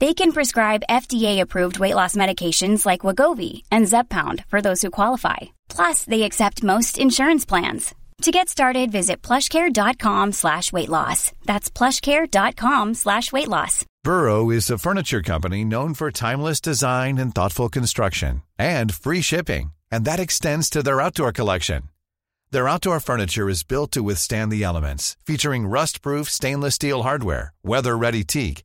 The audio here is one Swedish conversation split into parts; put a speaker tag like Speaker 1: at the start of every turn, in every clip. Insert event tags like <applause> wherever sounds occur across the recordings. Speaker 1: They can prescribe FDA-approved weight loss medications like Wagovi and Zepbound for those who qualify. Plus, they accept most insurance plans. To get started, visit plushcare.com slash weight loss. That's plushcare.com slash weight loss.
Speaker 2: Burrow is a furniture company known for timeless design and thoughtful construction and free shipping, and that extends to their outdoor collection. Their outdoor furniture is built to withstand the elements, featuring rust-proof stainless steel hardware, weather-ready teak,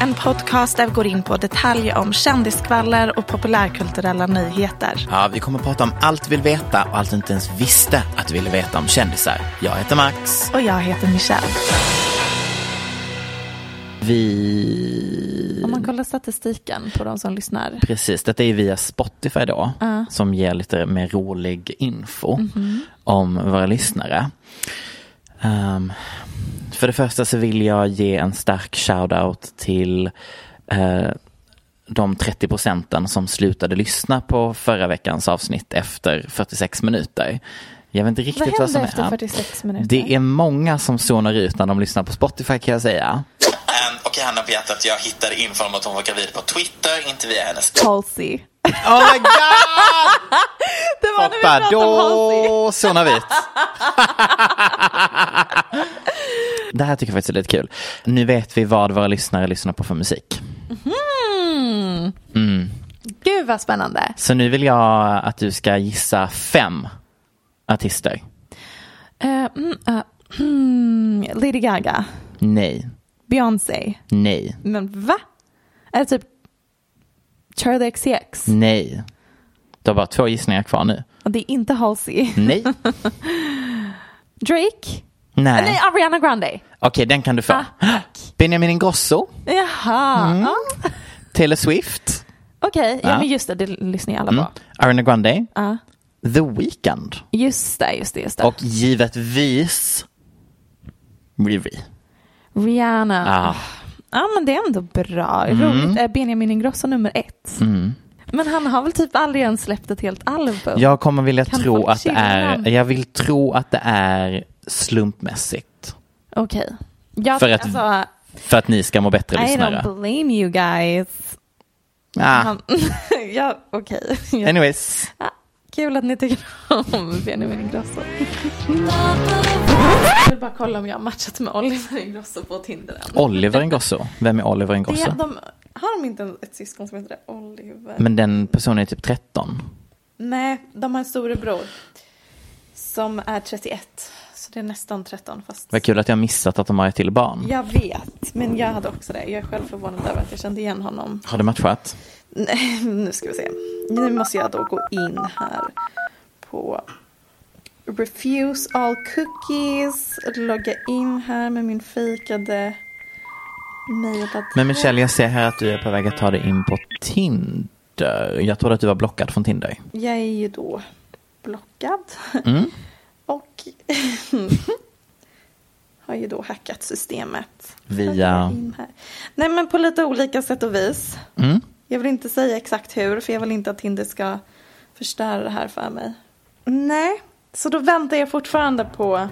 Speaker 3: en podcast där vi går in på detaljer om kändiskvaller och populärkulturella nyheter.
Speaker 4: Ja, vi kommer att prata om allt vi vill veta och allt du inte ens visste att du ville veta om kändisar. Jag heter Max.
Speaker 3: Och jag heter Michelle.
Speaker 4: Vi...
Speaker 3: Om man kollar statistiken på de som lyssnar.
Speaker 4: Precis, detta är via Spotify då, som ger lite mer rolig info
Speaker 3: Mhm.
Speaker 4: om våra lyssnare. Ehm, för det första så vill jag ge en stark shoutout till eh, de 30 procenten som slutade lyssna på förra veckans avsnitt efter 46 minuter. Jag vet inte riktigt vad,
Speaker 3: Vad
Speaker 4: som
Speaker 3: hände
Speaker 4: är.
Speaker 3: efter 46 minuter?
Speaker 4: Det är många som zonar ut när de lyssnar på Spotify kan jag säga. Okej, Hanna på hjärtat, jag hittade info om att hon var gravid på Twitter, inte via hennes
Speaker 3: Halsey.
Speaker 4: Oh my god!
Speaker 3: <laughs> Det var när vi
Speaker 4: Pappa,
Speaker 3: pratade om Halsey.
Speaker 4: då
Speaker 3: <laughs>
Speaker 4: zonar vi ut. Det här tycker jag faktiskt är lite kul. Nu vet vi vad våra lyssnare lyssnar på för musik.
Speaker 3: Mm. Gud vad spännande.
Speaker 4: Så nu vill jag att du ska gissa fem artister.
Speaker 3: Eh, mm, eh, hmm, Lady Gaga,
Speaker 4: Nej,
Speaker 3: Beyoncé,
Speaker 4: nej,
Speaker 3: men va? Är det typ Charlie XCX?
Speaker 4: Mm. nej. Du har bara två gissningar kvar nu.
Speaker 3: Och det är inte Halsey. <laughs>
Speaker 4: Nej,
Speaker 3: Drake?
Speaker 4: nej.
Speaker 3: Nej, Ariana Grande.
Speaker 4: Okej, den kan du få.
Speaker 3: Ah.
Speaker 4: Benjamin Ingrosso,
Speaker 3: Jaha. Ja.
Speaker 4: Taylor Swift,
Speaker 3: Okej, ja,
Speaker 4: Mm. Ja.
Speaker 3: men just det, det lyssnar ju alla Ah.
Speaker 4: mm.
Speaker 3: på.
Speaker 4: Ariana Grande,
Speaker 3: Ja.
Speaker 4: The Weeknd
Speaker 3: Just det, just det, just det.
Speaker 4: och givetvis Riri.
Speaker 3: Rihanna.
Speaker 4: Ah. Mm.
Speaker 3: Ja, men det är ändå bra. Roligt. Eh, Benjamin Ingrosso nummer ett. Men han har väl typ aldrig ens släppt ett helt album?
Speaker 4: Jag kommer vilja
Speaker 3: Kan
Speaker 4: tro
Speaker 3: folk
Speaker 4: att det
Speaker 3: chilla
Speaker 4: är,
Speaker 3: namn?
Speaker 4: jag vill tro att det är slumpmässigt.
Speaker 3: Okej. Jag,
Speaker 4: För att-
Speaker 3: alltså,
Speaker 4: För att ni ska må
Speaker 3: I
Speaker 4: bättre lyssnare.
Speaker 3: don't blame you guys. <laughs>
Speaker 4: Ah,
Speaker 3: Han, ja, okej. Ja.
Speaker 4: anyways,
Speaker 3: Ah, Kul att ni tycker om Benjamin Ingrosso. Jag vill bara kolla om jag har matchat med Oliver Ingrosso på Tinder än.
Speaker 4: Oliver Ingrosso. Vem är Oliver
Speaker 3: Det,
Speaker 4: Ingrosso?
Speaker 3: de, har de inte ett syskon som heter Oliver?
Speaker 4: Men den personen är typ 13.
Speaker 3: Nej, de har en storebror som är 31. Så det är nästan 13 fast...
Speaker 4: Vad kul att jag missat att de har ett till barn.
Speaker 3: Jag vet, men jag hade också det. Jag är själv förvånad över att jag kände igen honom.
Speaker 4: Har det matchat?
Speaker 3: Nej, nu ska vi se. Nu måste jag då gå in här på Refuse all cookies. Logga in här med min fejkade mailadress.
Speaker 4: Men Michelle, jag ser här att du är på väg att ta dig in på Tinder. Jag trodde att du var blockad från Tinder.
Speaker 3: Jag är ju då blockad.
Speaker 4: Mm.
Speaker 3: <laughs> Och har ju då hackat systemet.
Speaker 4: Via-
Speaker 3: Jag går in här. Nej men på lite olika sätt och vis.
Speaker 4: Mm.
Speaker 3: Jag vill inte säga exakt hur för jag vill inte att Tinder ska förstöra det här för mig. Nej, så då väntar jag fortfarande på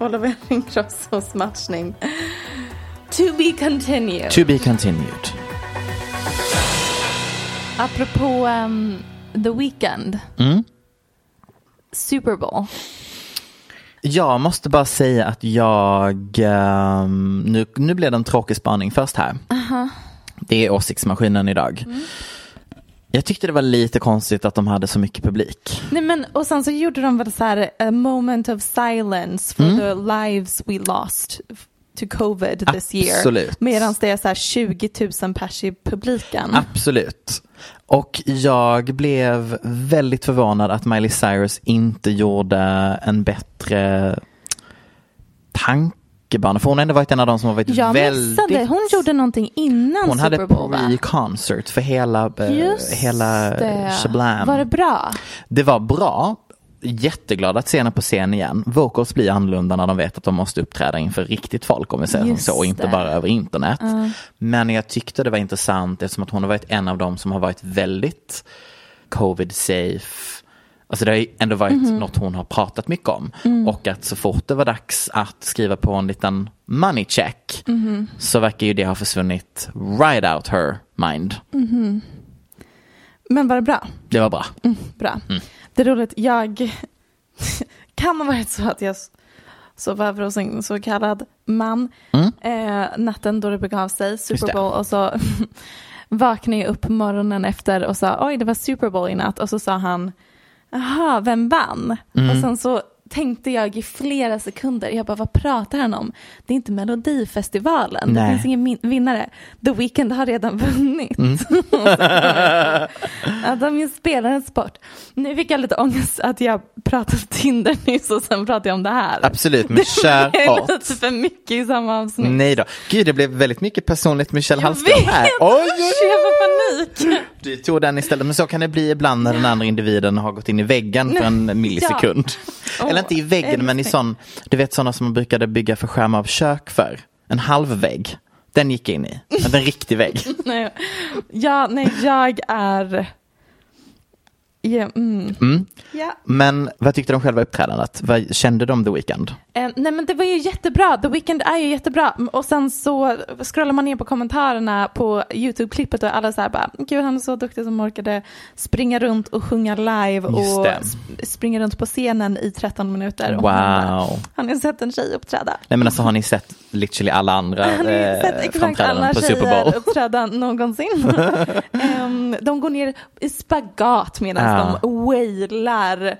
Speaker 3: Oliver Ingrossos matchning. To be continued.
Speaker 4: To be continued.
Speaker 3: Apropå um, The Weeknd.
Speaker 4: Mm.
Speaker 3: Super Bowl.
Speaker 4: Jag måste bara säga att jag, ehm, nu, nu blev det en tråkig spaning först här. Det är åsiktsmaskinen idag.
Speaker 5: Mm.
Speaker 4: Jag tyckte det var lite konstigt att de hade så mycket publik.
Speaker 5: Nej men och sen så gjorde de väl så här
Speaker 3: eh,
Speaker 5: a moment of silence
Speaker 4: Mm.
Speaker 5: for the lives we lost to covid
Speaker 4: Ah.
Speaker 5: this year.
Speaker 4: Absolut.
Speaker 5: Medan det är så här 20 000 pers i
Speaker 4: Ah.
Speaker 5: publiken.
Speaker 4: Absolut. Och jag blev väldigt förvånad att Miley Cyrus inte gjorde en bättre tankebana. För hon har ändå varit en av de som har varit
Speaker 5: Jag
Speaker 4: väldigt...
Speaker 5: missade, hon gjorde någonting innan
Speaker 4: Hon
Speaker 5: Super
Speaker 4: hade
Speaker 5: Bowl va?
Speaker 4: pre-concert för hela, eh, hela
Speaker 5: det.
Speaker 4: shablam.
Speaker 5: Var det bra?
Speaker 4: Det var bra. Jätteglad att se henne på scen igen. Vocals blir annorlunda när de vet att de måste uppträda inför riktigt folk om vi säger som
Speaker 5: Just
Speaker 4: så och inte
Speaker 5: det.
Speaker 4: bara över internet. Men jag tyckte det var intressant eftersom att hon har varit en av dem som har varit väldigt covid safe. Alltså det har ju ändå varit
Speaker 5: Mhm.
Speaker 4: något hon har pratat mycket om.
Speaker 5: Mm.
Speaker 4: Och att så fort det var dags att skriva på en liten money check
Speaker 5: Mhm.
Speaker 4: så verkar ju det ha försvunnit right out her mind.
Speaker 5: Mm. Men var det bra?
Speaker 4: Det var bra.
Speaker 5: Mm. Bra.
Speaker 4: Mm.
Speaker 5: Det är roligt, jag <laughs> kan ha varit så att jag sov över hos en så kallad man eh, natten då det begav sig,
Speaker 4: Mm. det.
Speaker 5: Super Bowl, och så <laughs> vaknade jag upp morgonen efter och sa oj det var Super Bowl i natt och så sa han jaha vem vann?
Speaker 4: Mm.
Speaker 5: Och sen så tänkte jag i flera sekunder, jag bara vad pratar han om? Det är inte Melodifestivalen, det
Speaker 4: Nej.
Speaker 5: finns ingen min- vinnare. The Weeknd har redan vunnit.
Speaker 4: Mm.
Speaker 5: <laughs> Att de ju spelar en sport. Nu fick jag lite ångest att jag pratade Tinder nyss och sen pratade jag om det här.
Speaker 4: Absolut, men kör
Speaker 5: <laughs> Det är
Speaker 4: hårt.
Speaker 5: lite för mycket i samma avsnitt.
Speaker 4: Nej då. Gud, det blev väldigt mycket personligt Michelle
Speaker 5: Mm. Jag
Speaker 4: Hallström
Speaker 5: vet!
Speaker 4: här. Oj, oj, oj.
Speaker 5: Jag får panik.
Speaker 4: <laughs> Du tog den istället, men så kan det bli ibland när den andra individen har gått in i väggen för en millisekund.
Speaker 5: Åh,
Speaker 4: Eller inte i väggen, men i
Speaker 5: älskling.
Speaker 4: sån, du vet sådana som man brukade bygga för skärmar av kök för. En halv vägg. Den gick jag in i. Men En riktig vägg.
Speaker 5: Nej. Ja, nej, jag är... Ja, mm. Ja.
Speaker 4: Men vad tyckte de själva uppträdandet? Vad kände de The Weeknd?
Speaker 5: Eh, nej men det var ju jättebra, The Weeknd är ju jättebra. Mm, Och sen så scrollar man ner på kommentarerna på YouTube-klippet och alla så här bara, gud han är så duktig som orkade springa runt och sjunga live
Speaker 4: Just
Speaker 5: och
Speaker 4: det.
Speaker 5: sp- springa runt på scenen i 13 minuter. Och man bara,
Speaker 4: Wow.
Speaker 5: Har ni sett en tjej uppträda?
Speaker 4: Nej men alltså har ni sett literally alla andra
Speaker 5: Har ni
Speaker 4: eh,
Speaker 5: sett exakt alla
Speaker 4: framträdanden på Super
Speaker 5: tjejer
Speaker 4: Bowl?
Speaker 5: uppträda någonsin?
Speaker 4: <laughs>
Speaker 5: Ehm, de går ner i spagat medan
Speaker 4: Ja.
Speaker 5: de wailar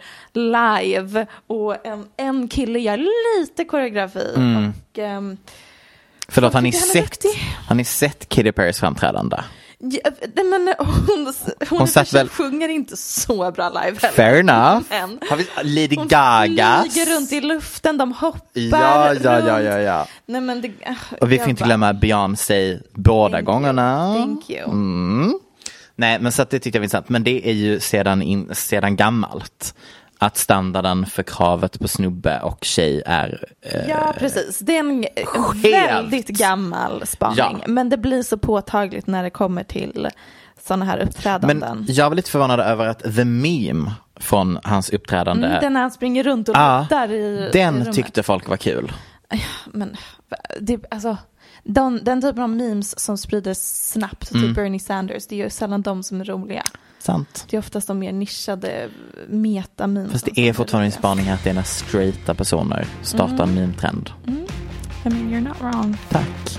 Speaker 5: live och en, en kille gör lite koreografi.
Speaker 4: Mm.
Speaker 5: Och, ehm,
Speaker 4: Förlåt, har ni,
Speaker 5: tycker han är
Speaker 4: sett,
Speaker 5: duktig.
Speaker 4: har ni sett Katy Perrys framträdande?
Speaker 5: Ja, eh, nej men hon, hon,
Speaker 4: Hon satt
Speaker 5: i och för sig
Speaker 4: väl-
Speaker 5: sjunger inte så bra live heller.
Speaker 4: Fair enough.
Speaker 5: <laughs> Men-
Speaker 4: Har vi Lady
Speaker 5: Hon
Speaker 4: Gaga.
Speaker 5: flyger runt i luften, de hoppar
Speaker 4: Ja, ja, ja, ja,
Speaker 5: runt.
Speaker 4: ja.
Speaker 5: Nej, men det,
Speaker 4: Och vi
Speaker 5: jag
Speaker 4: får inte
Speaker 5: bara,
Speaker 4: glömma Beyoncé båda
Speaker 5: Thank you,
Speaker 4: gångerna.
Speaker 5: Thank you.
Speaker 4: Mm. Nej, men så att det tyckte jag var intressant. Men det är ju sedan, in, sedan gammalt. Att standarden för kravet på snubbe och tjej är... Eh,
Speaker 5: Ja, precis. Det är en
Speaker 4: Skevt.
Speaker 5: väldigt gammal spaning.
Speaker 4: Ja.
Speaker 5: Men det blir så påtagligt när det kommer till sådana här uppträdanden. Mm,
Speaker 4: men jag var lite förvånad över att the meme från hans uppträdande.
Speaker 5: Mm, den när han springer runt och
Speaker 4: Ja,
Speaker 5: luttar i i
Speaker 4: den
Speaker 5: rummet.
Speaker 4: tyckte folk var kul.
Speaker 5: Men det, alltså, den, den typen av memes som sprids snabbt, typ
Speaker 4: Mm.
Speaker 5: Bernie Sanders, det är ju sällan de som är roliga.
Speaker 4: Sant.
Speaker 5: Det är oftast de mer nischade meta-memes.
Speaker 4: Fast
Speaker 5: som
Speaker 4: det är
Speaker 5: sprids.
Speaker 4: fortfarande en spaning här att det är när straighta personer startar
Speaker 5: Mm.
Speaker 4: en meme-trend.
Speaker 5: I mean, you're not wrong.
Speaker 4: Tack.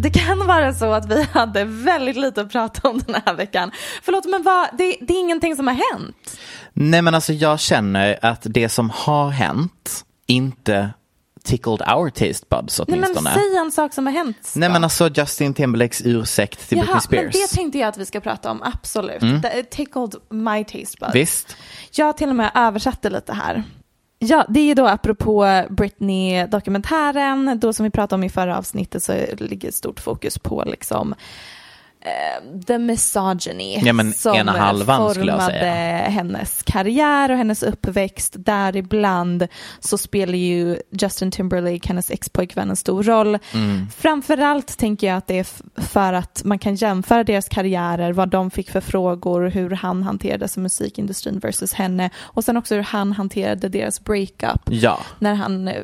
Speaker 5: Det kan vara så att vi hade väldigt lite att prata om den här veckan. Förlåt, men vad, det, det är ingenting som har hänt.
Speaker 4: Nej men alltså jag känner att det som har hänt inte tickled our taste buds
Speaker 5: Nej, men
Speaker 4: åtminstone.
Speaker 5: säg en sak som har hänt.
Speaker 4: Nej men alltså Justin Timberlakes ursäkt till Britney
Speaker 5: Jaha, men
Speaker 4: Spears. Mm.
Speaker 5: det tänkte jag att vi ska prata om, absolut. Det tickled my taste buds.
Speaker 4: Visst?
Speaker 5: Jag till och med översatte lite här. Ja, det är ju då apropå Britney-dokumentären, då som vi pratade om i förra avsnittet så ligger stort fokus på liksom eh, the misogyny
Speaker 4: Ja, men
Speaker 5: som
Speaker 4: ena halvan skulle jag
Speaker 5: formade
Speaker 4: säga.
Speaker 5: eh, hennes karriär och hennes uppväxt. Där ibland så spelar ju Justin Timberlake, hennes ex-pojkvän, en stor roll. Framförallt tänker jag att det är f- för att man kan jämföra deras karriärer, vad de fick för frågor, hur han hanterades i musikindustrin versus henne och sen också hur han hanterade deras breakup.
Speaker 4: Ja.
Speaker 5: När han eh,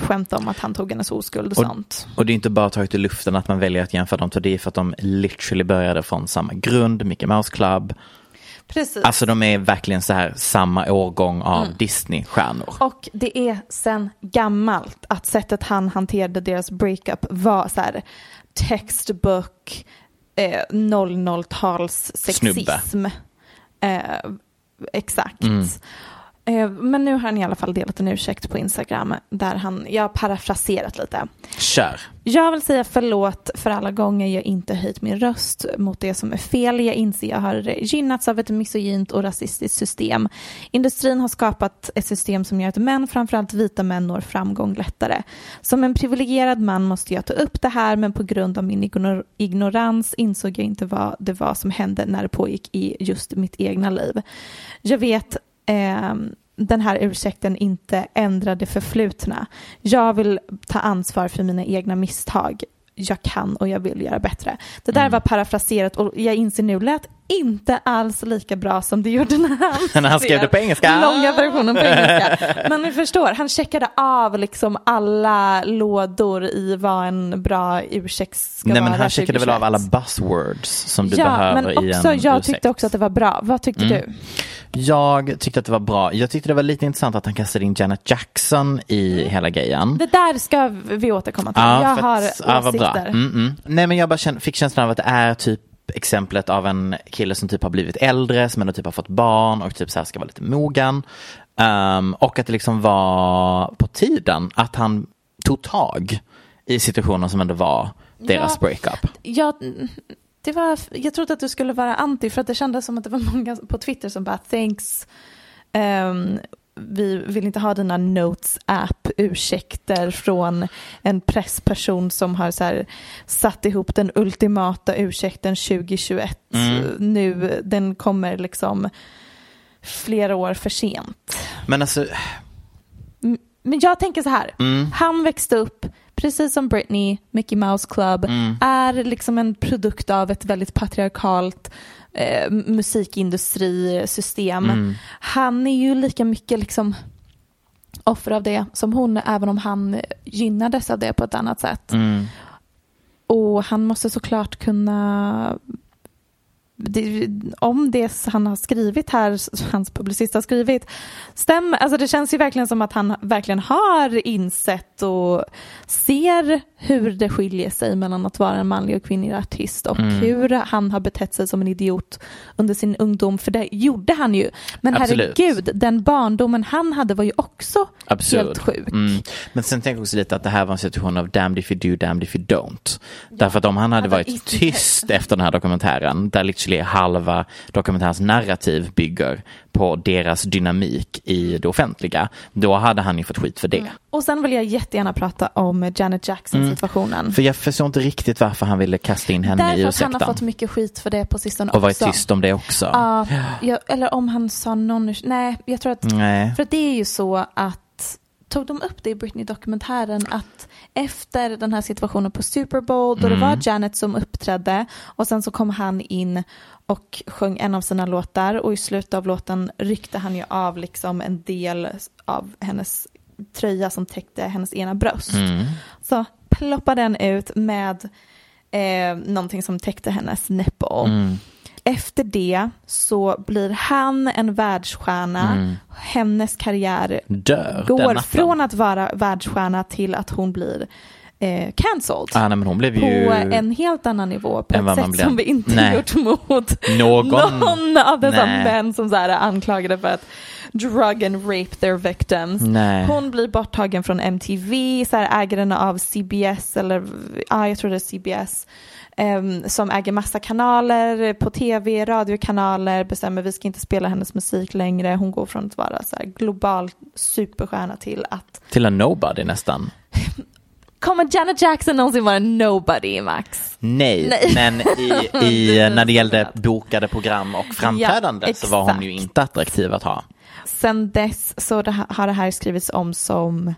Speaker 5: skämtade om att han tog hennes oskuld och, sånt.
Speaker 4: Och det är inte bara taget i luften att man väljer att jämföra dem för det är för att de literally började från samma grund, Mickey Mouse Club.
Speaker 5: Precis.
Speaker 4: Alltså de är verkligen så här samma årgång av Disney-stjärnor.
Speaker 5: Mm. Och det är sen gammalt att sättet han hanterade deras breakup var så här textbook eh, 00-tals sexism.
Speaker 4: Snubbe.
Speaker 5: Eh, exakt. Eh, men nu har han i alla fall delat en ursäkt på Instagram där han, jag har parafraserat lite.
Speaker 4: Kör.
Speaker 5: Jag vill säga förlåt för alla gånger jag inte höjt min röst mot det som är fel. Jag inser jag har gynnats av ett misogynt och rasistiskt system. Industrin har skapat ett system som gör att män, framförallt vita män, når framgång lättare. Som en privilegierad man måste jag ta upp det här men på grund av min ignor- ignorans insåg jag inte vad det var som hände när det pågick i just mitt egna liv. Jag vet ehm, den här ursäkten inte ändra det förflutna. Jag vill ta ansvar för mina egna misstag. Jag kan och jag vill göra bättre. Det
Speaker 4: Mm.
Speaker 5: där var parafraserat och jag inser nu lät inte alls lika bra som det gjorde när
Speaker 4: <laughs>
Speaker 5: han,
Speaker 4: När han skrev det på engelska.
Speaker 5: Långa versionen på engelska. Men ni förstår, han checkade av liksom alla lådor i vad en bra ursäkt ska
Speaker 4: Nej
Speaker 5: vara.
Speaker 4: men han checkade väl av
Speaker 5: 2021.
Speaker 4: alla buzzwords som du
Speaker 5: ja,
Speaker 4: behöver
Speaker 5: men
Speaker 4: i
Speaker 5: också
Speaker 4: en
Speaker 5: jag
Speaker 4: ursäkt. Mm.
Speaker 5: tyckte också att det var bra. Vad tyckte du?
Speaker 4: Jag tyckte att det var bra. Jag tyckte det var lite intressant att han kastade in Janet Jackson i hela grejen.
Speaker 5: Det där ska vi återkomma till. jag
Speaker 4: för
Speaker 5: har
Speaker 4: att- ja, vad bra.
Speaker 5: åsikter.
Speaker 4: Mm, mm. Nej men jag bara känn, fick känslan av att det är typ exemplet av en kille som typ har blivit äldre, som ändå typ har fått barn och typ så här ska vara lite mogen. Ehm, och att det liksom var på tiden att han tog tag i situationen som ändå var deras
Speaker 5: Ja.
Speaker 4: breakup.
Speaker 5: jag, det var, jag trodde att du skulle vara anti för att det kändes som att det var många på Twitter som bara thanks. ehm, vi vill inte ha dina notes app ursäkter från en pressperson som har så här, satt ihop den ultimata ursäkten 2021.
Speaker 4: Mm.
Speaker 5: Nu den kommer liksom flera år för sent.
Speaker 4: Men alltså, mm.
Speaker 5: Men jag tänker så här. Han växte upp, precis som Britney, Mickey Mouse Club, är liksom en produkt av ett väldigt patriarkalt eh, musikindustrisystem.
Speaker 4: Mm.
Speaker 5: Han är ju lika mycket liksom offer av det som hon, även om han gynnades av det på ett annat sätt.
Speaker 4: mm.
Speaker 5: Och han måste såklart kunna det, om det han har skrivit här, hans publicist har skrivit, stämmer. Alltså det känns ju verkligen som att han verkligen har insett och ser hur det skiljer sig mellan att vara en manlig och kvinnlig artist
Speaker 4: Mm.
Speaker 5: och hur han har betett sig som en idiot under sin ungdom. För det gjorde han ju. Men
Speaker 4: Absolut.
Speaker 5: herregud, den barndomen han hade var ju också
Speaker 4: Absurd.
Speaker 5: helt sjuk.
Speaker 4: Mm. Men sen tänker jag också lite att det här var en situation av damned if you do, damned if you don't. Därför att om han hade
Speaker 5: hade
Speaker 4: varit
Speaker 5: inte-
Speaker 4: tyst efter den här dokumentären, där literally halva dokumentärens narrativ bygger på deras dynamik i det offentliga, då hade han ju fått skit för det.
Speaker 5: Och sen vill jag jättegärna prata om Janet
Speaker 4: Mm.
Speaker 5: Jackson-situationen.
Speaker 4: För jag förstår inte riktigt varför han ville kasta in henne i
Speaker 5: Därför att han har
Speaker 4: ursäkten.
Speaker 5: fått mycket skit för det på sistone
Speaker 4: Och varit
Speaker 5: också.
Speaker 4: tyst om det också. <gasps>
Speaker 5: Ja, jag, eller om han sa någon urs- Nej, jag tror att...
Speaker 4: Nej.
Speaker 5: För att det är ju så att... Tog de upp det i Britney-dokumentären att efter den här situationen på Super Bowl då
Speaker 4: Mm.
Speaker 5: det var Janet som uppträdde och sen så kom han in och sjöng en av sina låtar och i slutet av låten ryckte han ju av liksom en del av hennes tröja som täckte hennes ena bröst.
Speaker 4: Mm.
Speaker 5: Så ploppade den ut med eh, någonting som täckte hennes nipple.
Speaker 4: Mm.
Speaker 5: Efter det så blir han en världsstjärna. Hennes karriär
Speaker 4: Mm. Dör den
Speaker 5: går
Speaker 4: natten.
Speaker 5: från att vara världsstjärna till att hon blir eh, cancelled.
Speaker 4: Ah, nej, men hon blev
Speaker 5: på
Speaker 4: ju...
Speaker 5: en helt annan nivå, på
Speaker 4: än vad
Speaker 5: ett
Speaker 4: man
Speaker 5: sätt
Speaker 4: blev.
Speaker 5: som vi inte
Speaker 4: Nej.
Speaker 5: gjort mot
Speaker 4: Någon.
Speaker 5: någon av dessa
Speaker 4: Nej.
Speaker 5: män som så här anklagade för att drug and rape their victims.
Speaker 4: Nej.
Speaker 5: Hon blir borttagen från MTV, så här ägaren av CBS eller ja, jag tror det är CBS em, ehm, som äger massa kanaler på tv, radiokanaler, bestämmer vi ska inte spela hennes musik längre. Hon går från att vara så här global superstjärna till att
Speaker 4: Till en nobody nästan.
Speaker 5: kommer Janet Jackson någonsin vara nobody Max?
Speaker 4: Nej,
Speaker 5: Nej.
Speaker 4: men i,
Speaker 5: Det <laughs>
Speaker 4: i,
Speaker 5: är
Speaker 4: när det gällde
Speaker 5: sant.
Speaker 4: bokade program och framträdande
Speaker 5: Ja,
Speaker 4: så var hon
Speaker 5: exakt.
Speaker 4: ju inte attraktiv att ha.
Speaker 5: Sen dess så det ha- har det här skrivits om som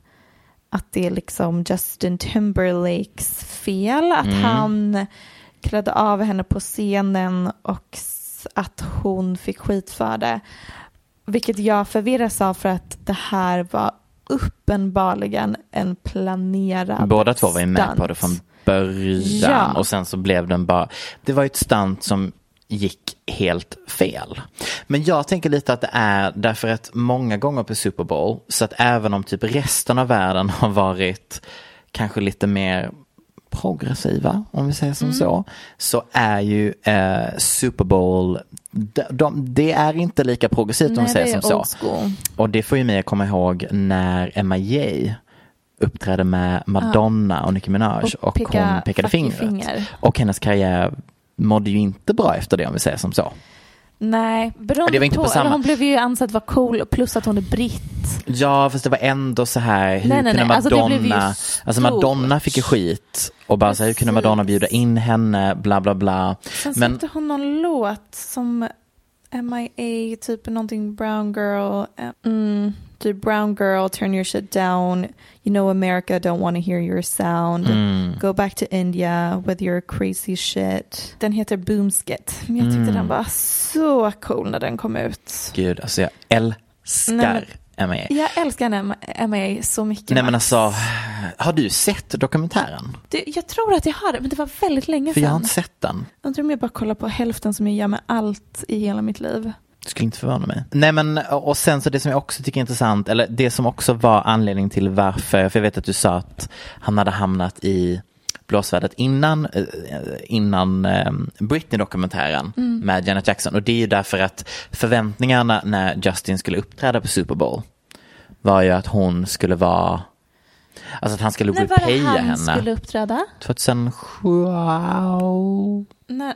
Speaker 5: att det är liksom Justin Timberlakes fel att
Speaker 4: Mm.
Speaker 5: han klädde av henne på scenen och s- att hon fick skit för det. Vilket jag förvirras av för att det här var uppenbarligen en planerad
Speaker 4: Båda två var ju med
Speaker 5: stunt.
Speaker 4: på det från början
Speaker 5: Ja.
Speaker 4: och sen så blev den bara, det var ju ett stunt som gick helt fel. Men jag tänker lite att det är därför att många gånger på Super Bowl så att även om typ resten av världen <laughs> har varit kanske lite mer progressiva, om vi säger som
Speaker 3: Mm.
Speaker 4: så, så är ju eh, Super Bowl, de, de, det är inte lika progressivt om vi
Speaker 3: Nej,
Speaker 4: säger
Speaker 3: det är
Speaker 4: som så.
Speaker 3: old school.
Speaker 4: Och det får ju mig att komma ihåg när Emma J uppträdde med Madonna och Nicki Minaj och,
Speaker 3: Och peka-
Speaker 4: hon pekade
Speaker 3: fuck you
Speaker 4: fingret.
Speaker 3: finger.
Speaker 4: Och hennes karriär mådde ju inte bra efter det om vi säger som så.
Speaker 3: Nej, beroende
Speaker 4: Det var inte
Speaker 3: på,
Speaker 4: på samma-
Speaker 3: eller hon blev ju ansedd vara cool plus att hon är britt.
Speaker 4: Ja fast det var ändå så här, hur
Speaker 3: Nej, nej,
Speaker 4: kunde
Speaker 3: nej. Alltså, det blev ju
Speaker 4: Madonna, alltså,
Speaker 3: stort.
Speaker 4: Madonna fick ju skit och bara så här, hur kunde Madonna bjuda in henne, bla bla bla.
Speaker 5: Sen
Speaker 4: Men
Speaker 5: släppte hon någon låt som MIA, typ någonting brown girl. eh, Mm, typ brown girl, turn your shit down. You know America don't want to hear your sound.
Speaker 4: Mm.
Speaker 5: Go back to India with your crazy shit. Den heter Boomskit. Men jag tyckte
Speaker 4: Mm.
Speaker 5: den var så cool när den kom ut.
Speaker 4: gud, alltså jag älskar
Speaker 5: Nej,
Speaker 4: Emma J.
Speaker 5: Jag älskar den MIA så mycket.
Speaker 4: Nej men
Speaker 5: Max.
Speaker 4: alltså, har du sett dokumentären?
Speaker 5: Det, jag tror att jag har det, men det var väldigt länge
Speaker 4: För jag har
Speaker 5: sedan.
Speaker 4: inte sett den.
Speaker 5: Undrar om jag bara kollar på hälften som jag gör med allt i hela mitt liv.
Speaker 4: Det skulle inte förvåna mig. Nej men och sen så det som jag också tycker är intressant, eller det som också var anledning till varför, för jag vet att du sa att han hade hamnat i blåsvärdet innan, eh, innan eh, Britney-dokumentären
Speaker 5: Mm.
Speaker 4: med Janet Jackson. Och det är ju därför att förväntningarna när Justin skulle uppträda på Super Bowl var ju att hon skulle vara, alltså att han skulle
Speaker 5: När var det
Speaker 4: repaja
Speaker 5: han
Speaker 4: henne.
Speaker 5: skulle uppträda?
Speaker 4: 2007?
Speaker 5: <laughs> När...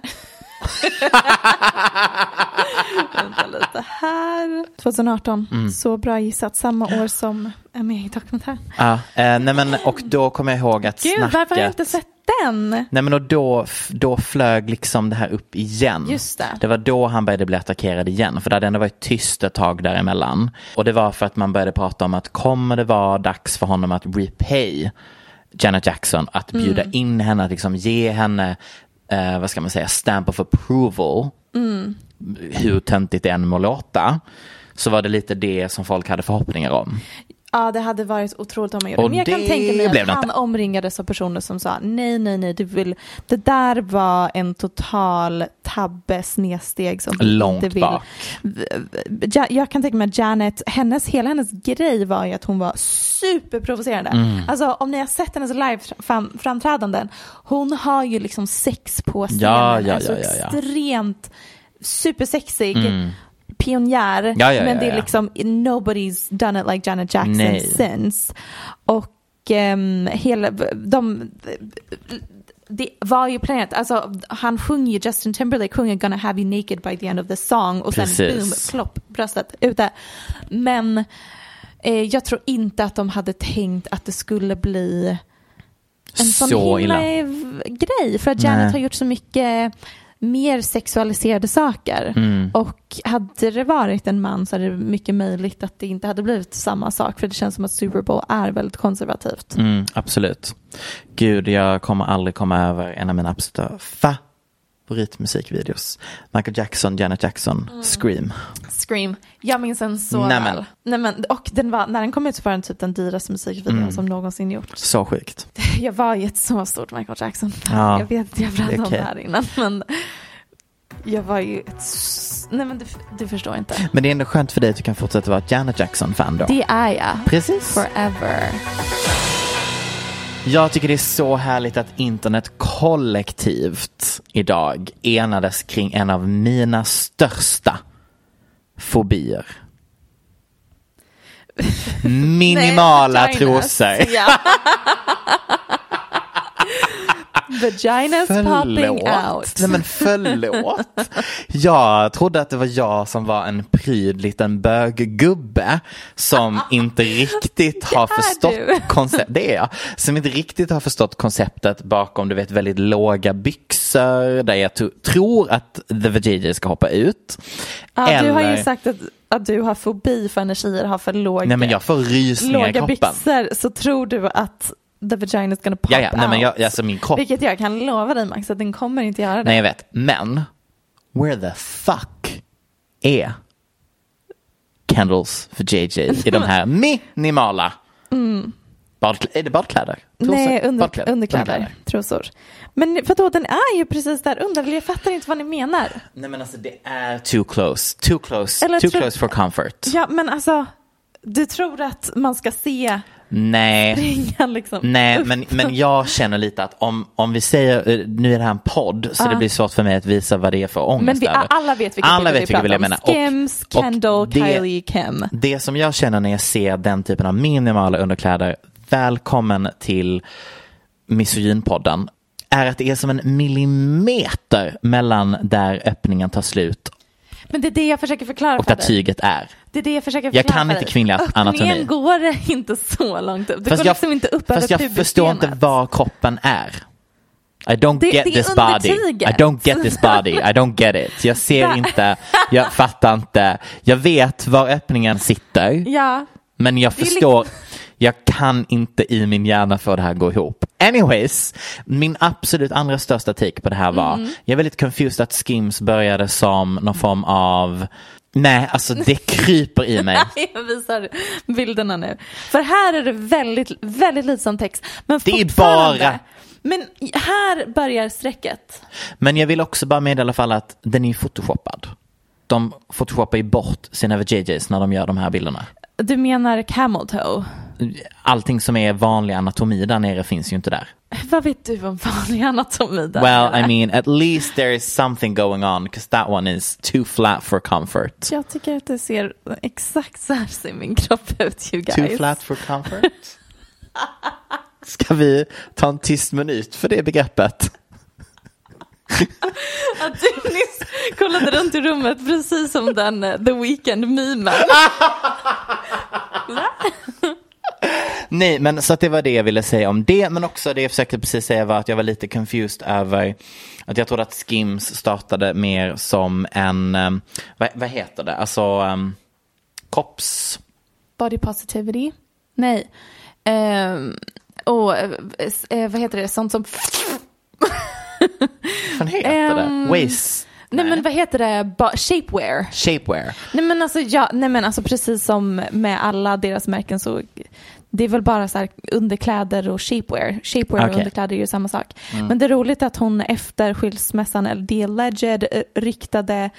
Speaker 5: Vänta lite här. 2018. Så bra gissat. Samma år som är med i dokumentären.
Speaker 4: Ja, eh, nej men och då kommer jag ihåg att
Speaker 5: Gud,
Speaker 4: snacket...
Speaker 5: varför har jag inte sett den?
Speaker 4: Nej men och då, då flög liksom det här upp igen.
Speaker 5: Just det.
Speaker 4: var då han började bli attackerad igen. För det hade ändå varit tyst ett tag däremellan. Och det var för att man började prata om att kommer det vara dags för honom att repay Janet Jackson. Att bjuda
Speaker 5: Mm.
Speaker 4: in henne, att liksom ge henne, eh, vad ska man säga, stamp of approval.
Speaker 5: Mm.
Speaker 4: Hur töntigt det än må låta. Så var det lite det som folk hade förhoppningar om.
Speaker 5: Ja, det hade varit otroligt om man gjorde det.
Speaker 4: Och
Speaker 5: Men jag kan
Speaker 4: det
Speaker 5: tänka mig
Speaker 4: blev
Speaker 5: att
Speaker 4: det
Speaker 5: han
Speaker 4: inte.
Speaker 5: omringades av personer som sa nej, nej, nej, du vill... det där var en total tabbe, snedsteg som vi
Speaker 4: Långt
Speaker 5: inte vill.
Speaker 4: bak.
Speaker 5: Ja, jag kan tänka mig att Janet, hennes, hela hennes grej var ju att hon var superprovocerande.
Speaker 4: Mm.
Speaker 5: Alltså om ni har sett hennes live-framträdanden, hon har ju liksom sex på scenen,
Speaker 4: Ja, ja,
Speaker 5: alltså
Speaker 4: ja, ja, ja. Mm.
Speaker 5: extremt supersexig. pionjär,
Speaker 4: Ja, ja,
Speaker 5: men det
Speaker 4: ja,
Speaker 5: är
Speaker 4: ja.
Speaker 5: liksom nobody's done it like Janet Jackson
Speaker 4: Nej.
Speaker 5: since. Och ehm, hela, de, det var ju planerat, alltså han sjunger ju, Justin Timberlake sjunger Gonna have you naked by the end of the song och sen
Speaker 4: Precis.
Speaker 5: boom, plopp, bröstet ute. Men eh, jag tror inte att de hade tänkt att det skulle bli en sån
Speaker 4: Så
Speaker 5: himla
Speaker 4: illa.
Speaker 5: eh, grej för att Janet
Speaker 4: Nej.
Speaker 5: har gjort så mycket mer sexualiserade saker
Speaker 4: Mm.
Speaker 5: och hade det varit en man så hade det mycket möjligt att det inte hade blivit samma sak för det känns som att Super Bowl är väldigt konservativt.
Speaker 4: Mm, absolut. Gud, jag kommer aldrig komma över en av mina absoluta favoritmusikvideos. Michael Jackson, Janet Jackson,
Speaker 5: Mm.
Speaker 4: Scream.
Speaker 5: Scream, jag minns den så
Speaker 4: Nämen.
Speaker 5: väl. Nej, men, och den var, när den kom ut så var den typ den dyraste musikvideon
Speaker 4: Mm.
Speaker 5: som någonsin gjorts.
Speaker 4: Så sjukt.
Speaker 5: <laughs> Jag var ju ett så stort Michael Jackson
Speaker 4: Ja,
Speaker 5: Jag vet att jag
Speaker 4: det är
Speaker 5: pratade om det
Speaker 4: okej.
Speaker 5: här innan men jag var ju ett... s- Nej men du, du förstår inte.
Speaker 4: Men det är ändå skönt för dig att du kan fortsätta vara ett Janet Jackson-fan då.
Speaker 5: Det är jag.
Speaker 4: Precis.
Speaker 5: Forever.
Speaker 4: Jag tycker det är så härligt att internet kollektivt idag enades kring en av mina största
Speaker 5: <laughs>
Speaker 4: fobier. Minimala
Speaker 5: vaginas.
Speaker 4: trosor.
Speaker 5: <laughs> Ja. Vaginas popping out.
Speaker 4: Nej men
Speaker 5: <laughs>
Speaker 4: förlåt. Jag trodde att det var jag som var en pryd liten böggubbe
Speaker 5: <laughs>
Speaker 4: som inte riktigt har
Speaker 5: är du.
Speaker 4: förstått konceptet. Det är jag. Som inte riktigt har förstått konceptet bakom du vet väldigt låga byxor där jag to- tror att the vajayjay ska hoppa ut.
Speaker 5: Ja, du har ju
Speaker 4: Eller-
Speaker 5: sagt att, att du har fobi för när tjejer har för låga,
Speaker 4: Nej men jag får rysningar i
Speaker 5: låga
Speaker 4: kroppen.
Speaker 5: byxor så tror du att the vagina is gonna pop
Speaker 4: Ja, ja. Nej, men
Speaker 5: out.
Speaker 4: jag, alltså min kropp
Speaker 5: Vilket jag kan lova dig Max att den kommer inte göra det.
Speaker 4: Nej jag vet, men where the fuck är
Speaker 5: <laughs>
Speaker 4: candles för JJ i de här minimala Bad, är det badkläder? Trosor?
Speaker 5: Mm. Nej, under,
Speaker 4: Badkläder?
Speaker 5: underkläder,
Speaker 4: Underkläder.
Speaker 5: Trosor. Men vadå, den är ju precis där under. eller Jag fattar inte vad ni menar.
Speaker 4: Nej men alltså det är too close. Too close.
Speaker 5: Eller
Speaker 4: too
Speaker 5: tror-
Speaker 4: close for comfort.
Speaker 5: Ja, men alltså, du tror att man ska se <laughs>
Speaker 4: Nej.
Speaker 5: ringan liksom.
Speaker 4: Nej, men, men jag känner lite att om, om vi säger, eh, nu är det här en podd så det blir svårt för mig att visa vad det är för ångest
Speaker 5: Men vi,
Speaker 4: över.
Speaker 5: alla vet vilka
Speaker 4: Alla vet
Speaker 5: bilder vi
Speaker 4: vilka
Speaker 5: pratar
Speaker 4: bilder jag menar.
Speaker 5: om.
Speaker 4: Och-
Speaker 5: Skims,
Speaker 4: och
Speaker 5: Kendall,
Speaker 4: det-
Speaker 5: Kylie, Kim.
Speaker 4: Det som jag känner när jag ser den typen av minimala underkläder, välkommen till Misogynpodden, är att det är som en millimeter mellan där öppningen tar slut
Speaker 5: Men det är det jag försöker förklara
Speaker 4: och
Speaker 5: för
Speaker 4: där
Speaker 5: dig.
Speaker 4: tyget är.
Speaker 5: Det är det jag försöker
Speaker 4: Jag
Speaker 5: förklara
Speaker 4: kan
Speaker 5: för
Speaker 4: inte
Speaker 5: dig.
Speaker 4: kvinnlig anatomi.
Speaker 5: Öppningen går <laughs> inte så långt upp. Det går
Speaker 4: jag,
Speaker 5: liksom inte upp
Speaker 4: fast
Speaker 5: över
Speaker 4: jag
Speaker 5: pubisbenet.
Speaker 4: förstår inte var kroppen är. I don't
Speaker 5: Det-
Speaker 4: get
Speaker 5: det är
Speaker 4: this
Speaker 5: under
Speaker 4: body.
Speaker 5: tyget.
Speaker 4: I don't get this body. I don't get it. Jag ser
Speaker 5: Där.
Speaker 4: inte, jag fattar inte. Jag vet var öppningen sitter.
Speaker 5: Ja,
Speaker 4: Men jag
Speaker 5: är liksom-
Speaker 4: förstår, jag kan inte i min hjärna få det här att gå ihop. Anyways, min absolut andra största take på det här var,
Speaker 5: Mm.
Speaker 4: jag är väldigt confused att Skims började som någon form av, nej alltså det
Speaker 5: <laughs>
Speaker 4: kryper i mig.
Speaker 5: jag visar bilderna nu. För här är det väldigt, väldigt lite som text. Men
Speaker 4: Det är
Speaker 5: fortfarande-
Speaker 4: bara-
Speaker 5: Men här börjar strecket.
Speaker 4: Men jag vill också bara meddela för alla att den är ju photoshoppad. De photoshoppar ju bort sina JJs när de gör de här bilderna.
Speaker 5: Du menar camel toe?
Speaker 4: Allting som är vanlig anatomi där nere finns ju inte där.
Speaker 5: Vad vet du om <laughs> vanlig anatomi? Där,
Speaker 4: Well, I
Speaker 5: eller?
Speaker 4: mean, at least there is something going on, because that one is too flat for comfort.
Speaker 5: Jag tycker att det ser exakt så här ser min kropp ut you guys.
Speaker 4: Too flat for comfort. <laughs> Ska vi ta en tyst minut för det begreppet?
Speaker 5: <laughs> Att du nyss kollade runt i rummet precis som den eh, The Weeknd-memen.
Speaker 4: Nej, men så att det var det jag ville säga om det. Men också det jag försökte precis säga var att jag var lite confused över att jag trodde att Skims startade mer som en, ehm, vad, vad heter det, alltså um, kopps...
Speaker 3: Body positivity? Nej. Ehm, och eh, s- eh, vad heter det, sånt som...
Speaker 4: Vad heter
Speaker 3: Ehm,
Speaker 4: det? Waist?
Speaker 3: Nej, men vad heter det, ba- shapewear?
Speaker 4: Shapewear?
Speaker 3: Nej men, alltså, ja, nej men alltså precis som med alla deras märken så det är väl bara så här underkläder och shapewear. Shapewear och
Speaker 4: Okej. Mm.
Speaker 3: underkläder är ju samma sak. Men det är roligt att hon efter skilsmässan, eller The Alleged, eh, riktade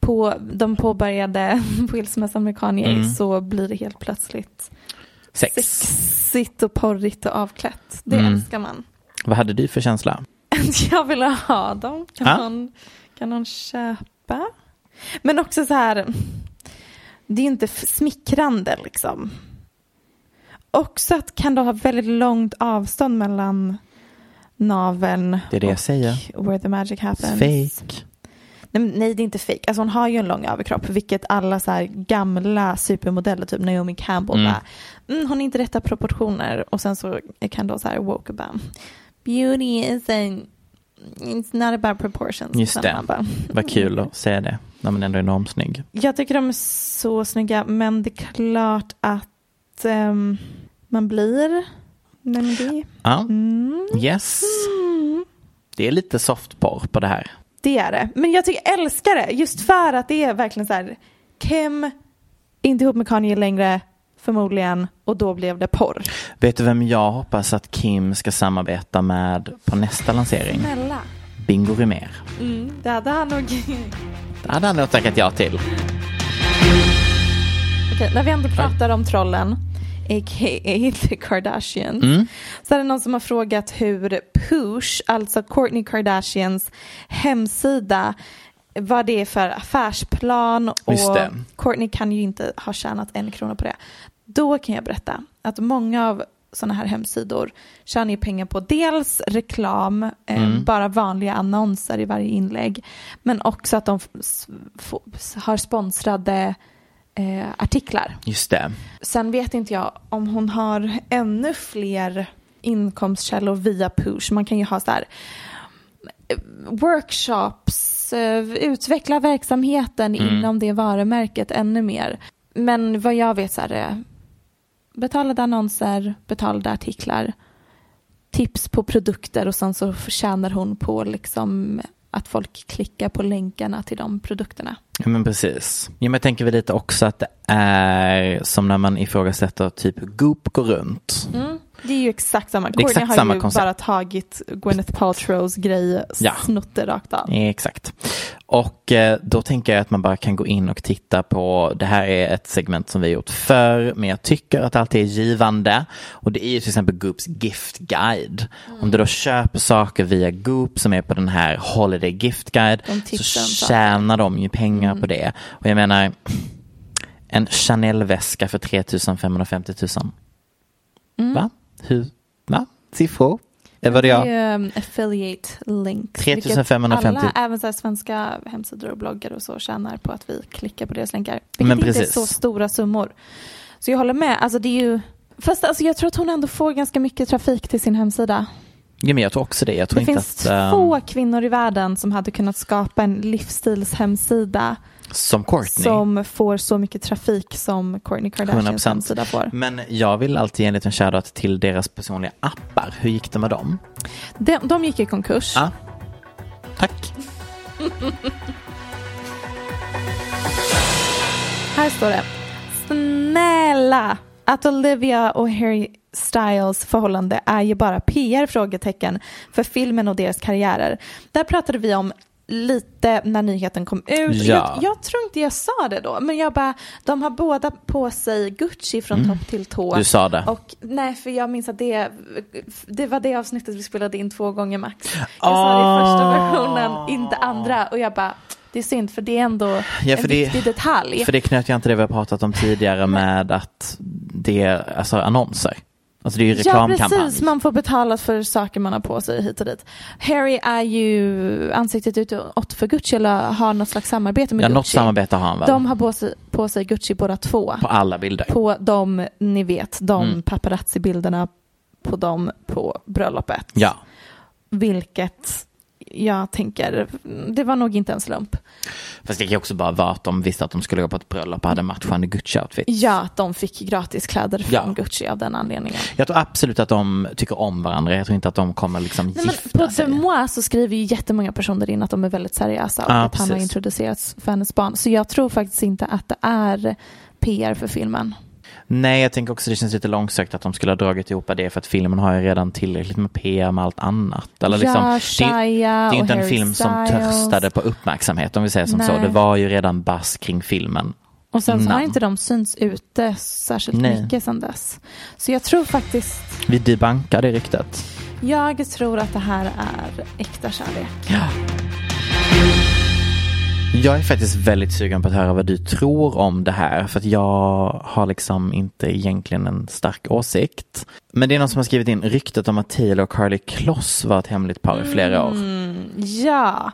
Speaker 3: på de påbörjade <laughs> skilsmässan med Kanye
Speaker 4: Mm.
Speaker 3: så blir det helt plötsligt
Speaker 4: Sex.
Speaker 5: Sexigt och porrigt och avklätt.
Speaker 4: Det Mm. älskar
Speaker 5: man.
Speaker 4: Vad hade du för känsla?
Speaker 5: <laughs> Jag vill ha dem. Kan,
Speaker 4: Ja.
Speaker 5: någon, kan någon köpa? Men också så här, det är ju inte f- smickrande liksom. Också att kan då ha väldigt långt avstånd mellan naveln
Speaker 4: Det är det jag säger.
Speaker 5: och where the magic happens.
Speaker 4: Fake.
Speaker 5: Nej, men nej, det är inte fake. Alltså hon har ju en lång överkropp, vilket alla så här gamla supermodeller, typ Naomi Campbell,
Speaker 4: Mm.
Speaker 5: bara, mm, hon är inte rätta proportioner. Och sen så kan då så här woke about. Beauty is a, it's not about proportions.
Speaker 4: Just
Speaker 5: Sen
Speaker 4: det.
Speaker 5: man bara,
Speaker 4: Vad kul att säga det när man ändå är enormt snygg.
Speaker 5: jag tycker de är så snygga, men det är klart att ehm, man blir. Nej, men det,
Speaker 4: Ja,
Speaker 5: mm,
Speaker 4: yes. Det är lite softporr på det här.
Speaker 5: det är det. Men jag tycker jag älskar det, just för att det är verkligen så här, Kim är inte ihop med Kanye längre, förmodligen, och då blev det porr.
Speaker 4: Vet du vem jag hoppas att Kim ska samarbeta med på nästa lansering?
Speaker 5: Snälla.
Speaker 4: Bingo Rimér.
Speaker 5: Det hade han nog... Okej,
Speaker 4: Det hade han nog tackat ja till.
Speaker 5: när vi ändå pratar om trollen, a.k.a. the Kardashians,
Speaker 4: Mm.
Speaker 5: så är det någon som har frågat hur Push, alltså Kourtney Kardashians hemsida, vad det är för affärsplan
Speaker 4: Just
Speaker 5: och
Speaker 4: det.
Speaker 5: Kourtney kan ju inte ha tjänat en krona på det. Då kan jag berätta att många av sådana här hemsidor tjänar ju pengar på dels reklam, eh, bara vanliga annonser i varje inlägg, men också att de f- s- få- s- har sponsrade eh, artiklar.
Speaker 4: Just det.
Speaker 5: Sen vet inte jag om hon har ännu fler inkomstkällor via push. Man kan ju ha så här eh, workshops, eh, utveckla verksamheten inom det varumärket ännu mer. Men vad jag vet så är det betalade annonser, betalade artiklar, tips på produkter och sen så tjänar hon på liksom att folk klickar på länkarna till de produkterna.
Speaker 4: Ja, men precis. Ja, men jag tänker väl lite också att det är som när man ifrågasätter typ Goop går runt.
Speaker 5: Mm. Det är ju exakt samma.
Speaker 4: Det är exakt
Speaker 5: Courtney har
Speaker 4: samma
Speaker 5: ju
Speaker 4: koncept.
Speaker 5: bara tagit Gwyneth Paltrows grej,
Speaker 4: Ja.
Speaker 5: snott det rakt av.
Speaker 4: Exakt. Och eh, då tänker jag att man bara kan gå in och titta på, det här är ett segment som vi har gjort förr, men jag tycker att allt är givande. Och det är ju till exempel Goops Gift Guide. Om du då köper saker via Goop som är på den här Holiday Gift Guide
Speaker 5: De tipsar
Speaker 4: så
Speaker 5: om saker. Mm.
Speaker 4: tjänar de ju pengar på det. Och jag menar, en Chanel-väska för 3 550 000. Va? Hur? Va? Siffror? Det var det jag.
Speaker 5: Mm. Det är ju, um, affiliate links.
Speaker 4: 3550.
Speaker 5: vilket Alla, även så här svenska hemsidor och bloggar och så, tjänar på att vi klickar på deras länkar. Vilket
Speaker 4: Men
Speaker 5: inte är
Speaker 4: precis.
Speaker 5: så stora summor. Så jag håller med. Alltså det är ju... Fast alltså, jag tror att hon ändå får ganska mycket trafik till sin hemsida.
Speaker 4: Ja, men jag tror också det. Jag tror
Speaker 5: Det
Speaker 4: inte
Speaker 5: finns
Speaker 4: att, ehm,
Speaker 5: två kvinnor i världen som hade kunnat skapa en livsstilshemsida
Speaker 4: Som Courtney.
Speaker 5: som får så mycket trafik som Kourtney Kardashians
Speaker 4: 100%.
Speaker 5: hemsida får.
Speaker 4: Men jag vill alltid ge en liten shoutout till deras personliga appar. Hur gick det med dem?
Speaker 5: De, de gick i konkurs.
Speaker 4: Ja. Tack.
Speaker 5: Här står det. Snälla! Att Olivia och Harry Styles förhållande är ju bara PR-frågetecken för filmen och deras karriärer. Där pratade vi om lite när nyheten kom ut.
Speaker 4: Ja.
Speaker 5: Jag, jag tror inte jag sa det då, men jag bara, de har båda på sig Gucci från topp till tå.
Speaker 4: Mm. Du sa det.
Speaker 5: Och, nej, för jag minns att det, det var det avsnittet vi spelade in två gånger max. Jag sa det i första
Speaker 4: Ah.
Speaker 5: versionen, inte andra. Och jag bara, det är synd för det är ändå
Speaker 4: Ja,
Speaker 5: en
Speaker 4: för det-
Speaker 5: viktig detalj.
Speaker 4: För det knöt jag inte det vi har pratat om tidigare med att det är alltså, annonser. Alltså det är ju reklamkampanj.
Speaker 5: Ja precis, man får betala för saker man har på sig hit och dit. Harry är ju ansiktet utåt för Gucci eller har något slags samarbete med
Speaker 4: Ja,
Speaker 5: Gucci.
Speaker 4: något samarbete har han väl?
Speaker 5: De har på sig, på sig Gucci båda två.
Speaker 4: På alla bilder.
Speaker 5: På de, ni vet, de
Speaker 4: Mm.
Speaker 5: paparazzi-bilderna på dem på bröllopet.
Speaker 4: Ja.
Speaker 5: Vilket jag tänker, det var nog inte en slump.
Speaker 4: Fast det kan ju också bara vara att de visste att de skulle gå på ett bröllop och hade matchande Gucci-outfit.
Speaker 5: Ja, att de fick gratis kläder från
Speaker 4: Ja.
Speaker 5: Gucci av den anledningen.
Speaker 4: Jag tror absolut att de tycker om varandra. Jag tror inte att de kommer liksom
Speaker 5: Nej,
Speaker 4: gifta
Speaker 5: men på
Speaker 4: sig.
Speaker 5: Demois så skriver ju jättemånga personer in att de är väldigt seriösa och
Speaker 4: Ja,
Speaker 5: att han har
Speaker 4: precis.
Speaker 5: introducerats för hennes barn. Så jag tror faktiskt inte att det är PR för filmen.
Speaker 4: Nej, jag tänker också det känns lite långsökt att de skulle ha dragit ihop det för att filmen har ju redan tillräckligt med PR med allt annat. Eller liksom,
Speaker 5: ja,
Speaker 4: det, är- det
Speaker 5: Shia
Speaker 4: är ju
Speaker 5: och
Speaker 4: inte en
Speaker 5: Harry
Speaker 4: film som
Speaker 5: Styles.
Speaker 4: törstade på uppmärksamhet om vi säger som så.
Speaker 5: Nej.
Speaker 4: Det var ju redan buzz kring filmen.
Speaker 5: Och sen så har
Speaker 4: innan.
Speaker 5: inte de synts ute särskilt
Speaker 4: Nej.
Speaker 5: mycket sedan dess. Så jag tror faktiskt,
Speaker 4: Vi debankar det ryktet.
Speaker 5: jag tror att det här är äkta kärlek.
Speaker 4: Ja. Jag är faktiskt väldigt sugen på att höra vad du tror om det här för att jag har liksom inte egentligen en stark åsikt. Men det är någon som har skrivit in ryktet om att Taylor och Carly Kloss var ett hemligt par i
Speaker 5: Mm.
Speaker 4: flera år.
Speaker 5: Ja.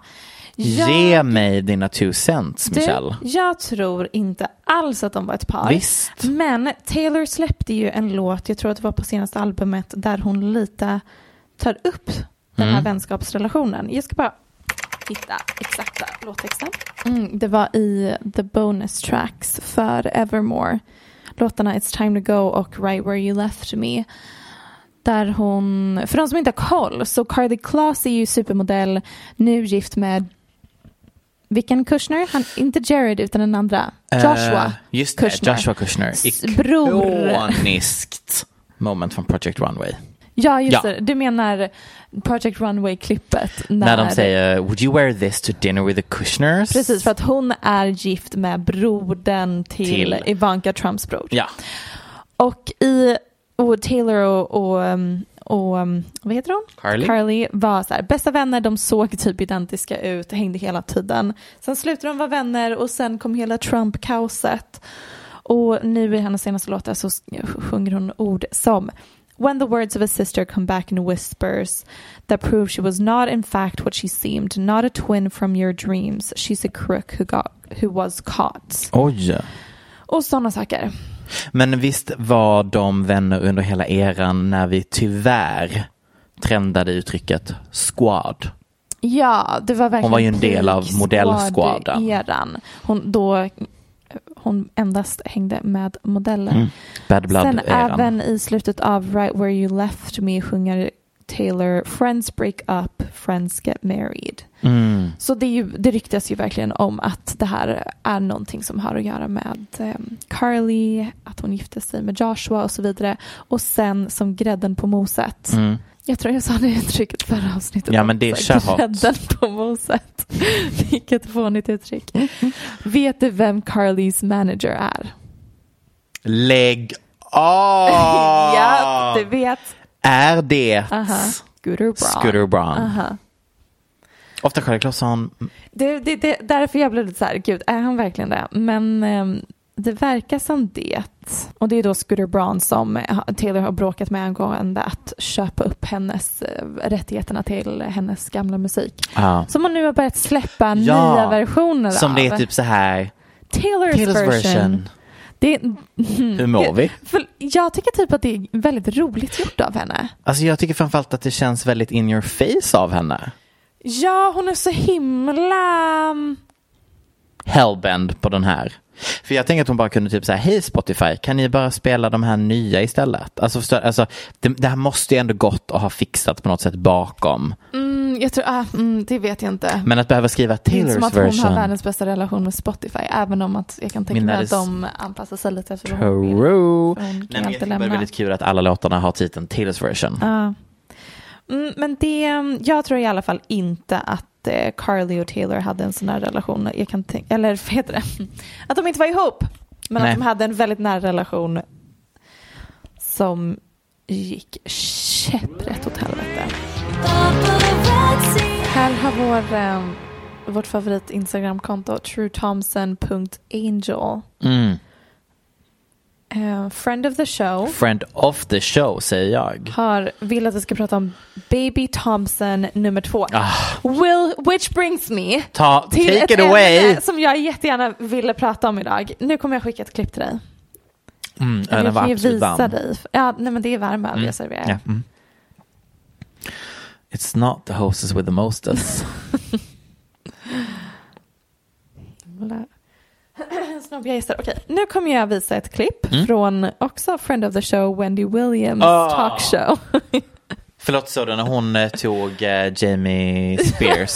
Speaker 5: Jag-
Speaker 4: Ge mig dina two cents, Michelle.
Speaker 5: Du, jag tror inte alls att de var ett par.
Speaker 4: Visst.
Speaker 5: Men Taylor släppte ju en låt, jag tror att det var på senaste albumet, där hon lite tar upp den här vänskapsrelationen. Jag ska bara hitta exakta låttexten. Mm, det var i The Bonus Tracks för Evermore. Låtarna It's Time To Go och Right Where You Left Me. Där hon, för de som inte har koll, så Carly Claes är ju supermodell, nu gift med vilken Kushner? Han, inte Jared utan den andra. Joshua.
Speaker 4: Eh, just det,
Speaker 5: Kushner.
Speaker 4: Joshua Kushner.
Speaker 5: S- bror.
Speaker 4: Ikoniskt moment från Project Runway.
Speaker 5: Ja, just
Speaker 4: Ja.
Speaker 5: det. Du menar Project Runway-klippet.
Speaker 4: När de säger Would you wear this to dinner with the Kushners?
Speaker 5: Precis, för att hon är gift med brodern till,
Speaker 4: Till.
Speaker 5: Ivanka Trumps bror.
Speaker 4: Ja,
Speaker 5: Och i och Taylor och, och, um, och um, vad heter hon?
Speaker 4: Carly.
Speaker 5: var så här, bästa vänner, de såg typ identiska ut, hängde hela tiden. Sen slutade de vara vänner och sen kom hela Trump-kaoset. Och nu i hennes senaste låtar så sk- sjunger hon ord som When the words of a sister come back in whispers that prove she was not in fact what she seemed, not a twin from your dreams, she's a crook who, got, who was caught.
Speaker 4: Oj.
Speaker 5: Och sådana saker.
Speaker 4: Men visst var de vänner under hela eran när vi tyvärr trendade uttrycket squad.
Speaker 5: Ja, det var verkligen
Speaker 4: Hon var ju en del av
Speaker 5: peak
Speaker 4: modellskvaden.
Speaker 5: squad-eran. Hon, då, hon endast hängde med modeller.
Speaker 4: Mm. Bad
Speaker 5: Sen
Speaker 4: blood-eran.
Speaker 5: även i slutet av Right where you left me sjunger Taylor Friends break up, friends get married.
Speaker 4: Mm.
Speaker 5: Så det, är ju, det ryktas ju verkligen om att det här är någonting som har att göra med ehm, Carly, att hon gifte sig med Joshua och så vidare. Och sen som grädden på moset.
Speaker 4: Mm.
Speaker 5: Jag tror jag sa det uttrycket förra avsnittet.
Speaker 4: Ja, men det är
Speaker 5: också.
Speaker 4: kärhat.
Speaker 5: Grädden på moset. Vilket fånigt uttryck. Vet du vem Carlys manager är?
Speaker 4: Lägg
Speaker 5: <laughs>
Speaker 4: av!
Speaker 5: ja, du vet. Ah,
Speaker 4: Är det
Speaker 5: Aha. Scooter Braun.
Speaker 4: Scooter Braun?
Speaker 5: Aha.
Speaker 4: Ofta Charlie Claesson.
Speaker 5: Det, det, det, därför jag blev lite så här, gud, är han verkligen det? Men ehm, det verkar som det. Och det är då Scooter Braun som eh, Taylor har bråkat med angående att köpa upp hennes eh, rättigheterna till hennes gamla musik.
Speaker 4: Ja.
Speaker 5: Som hon nu har börjat släppa
Speaker 4: Ah. Ja,
Speaker 5: nya versioner
Speaker 4: Som
Speaker 5: av. Mm.
Speaker 4: det är typ så här.
Speaker 5: Taylors,
Speaker 4: Taylors
Speaker 5: version.
Speaker 4: version.
Speaker 5: Det,
Speaker 4: Hur mår vi?
Speaker 5: <laughs> för jag tycker typ att det är väldigt roligt gjort av henne.
Speaker 4: Alltså jag tycker framförallt att det känns väldigt in your face av henne.
Speaker 5: Ja, hon är så himla...
Speaker 4: Hellbend på den här. För jag tänker att hon bara kunde typ säga hej Spotify, kan ni bara spela de här nya istället? Alltså, förstår, alltså det, det här måste ju ändå gått och ha fixat på något sätt bakom.
Speaker 5: Mm, jag tror, ah, mm, det vet jag inte.
Speaker 4: Men att behöva skriva
Speaker 5: Det är inte som
Speaker 4: Taylors
Speaker 5: att hon har
Speaker 4: version.
Speaker 5: världens bästa relation med Spotify, även om att jag kan tänka
Speaker 4: Min
Speaker 5: mig att
Speaker 4: världens-
Speaker 5: de anpassar sig lite efter vad hon vill.
Speaker 4: Peru.
Speaker 5: För hon
Speaker 4: Nej,
Speaker 5: kan
Speaker 4: men jag tycker
Speaker 5: inte
Speaker 4: bara det är
Speaker 5: lämna.
Speaker 4: väldigt kul att alla låtarna har titeln Taylors version.
Speaker 5: Ja. Mm, men det, jag tror i alla fall inte att eh, Carly och Taylor hade en sån här relation. Jag kan tänka, eller vad heter det? <laughs> Att de inte var ihop. Men
Speaker 4: Nej.
Speaker 5: att de hade en väldigt nära relation som gick käpprätt åt helvete. Här har vår, eh, vårt favorit Instagramkonto, truethompson.angel.
Speaker 4: Mm.
Speaker 5: Eh, friend of the show.
Speaker 4: Friend of the show säger jag.
Speaker 5: har vill att vi ska prata om Baby Thompson nummer två. Will, which brings me
Speaker 4: Ta,
Speaker 5: till
Speaker 4: take
Speaker 5: ett
Speaker 4: it away!
Speaker 5: ämne som jag jättegärna ville prata om idag. Nu kommer jag skicka ett klipp till dig.
Speaker 4: Mm, ja,
Speaker 5: Eller
Speaker 4: Äh, den
Speaker 5: jag
Speaker 4: var
Speaker 5: kan ju
Speaker 4: absolut
Speaker 5: visa
Speaker 4: varm.
Speaker 5: dig. Ja, nej men det är varm öl jag serverar.
Speaker 4: Ja, mm. It's not the hostess with the
Speaker 5: <laughs>
Speaker 4: mostest.
Speaker 5: Jävla- <clears throat> Snobbiga gäster. Okej, nu kommer jag visa ett klipp från också friend of the show Wendy Williams
Speaker 4: Mm. Ah.
Speaker 5: talkshow. <laughs>
Speaker 4: Förlåt så när hon eh, tog eh, Jamie
Speaker 5: <laughs>
Speaker 4: Spears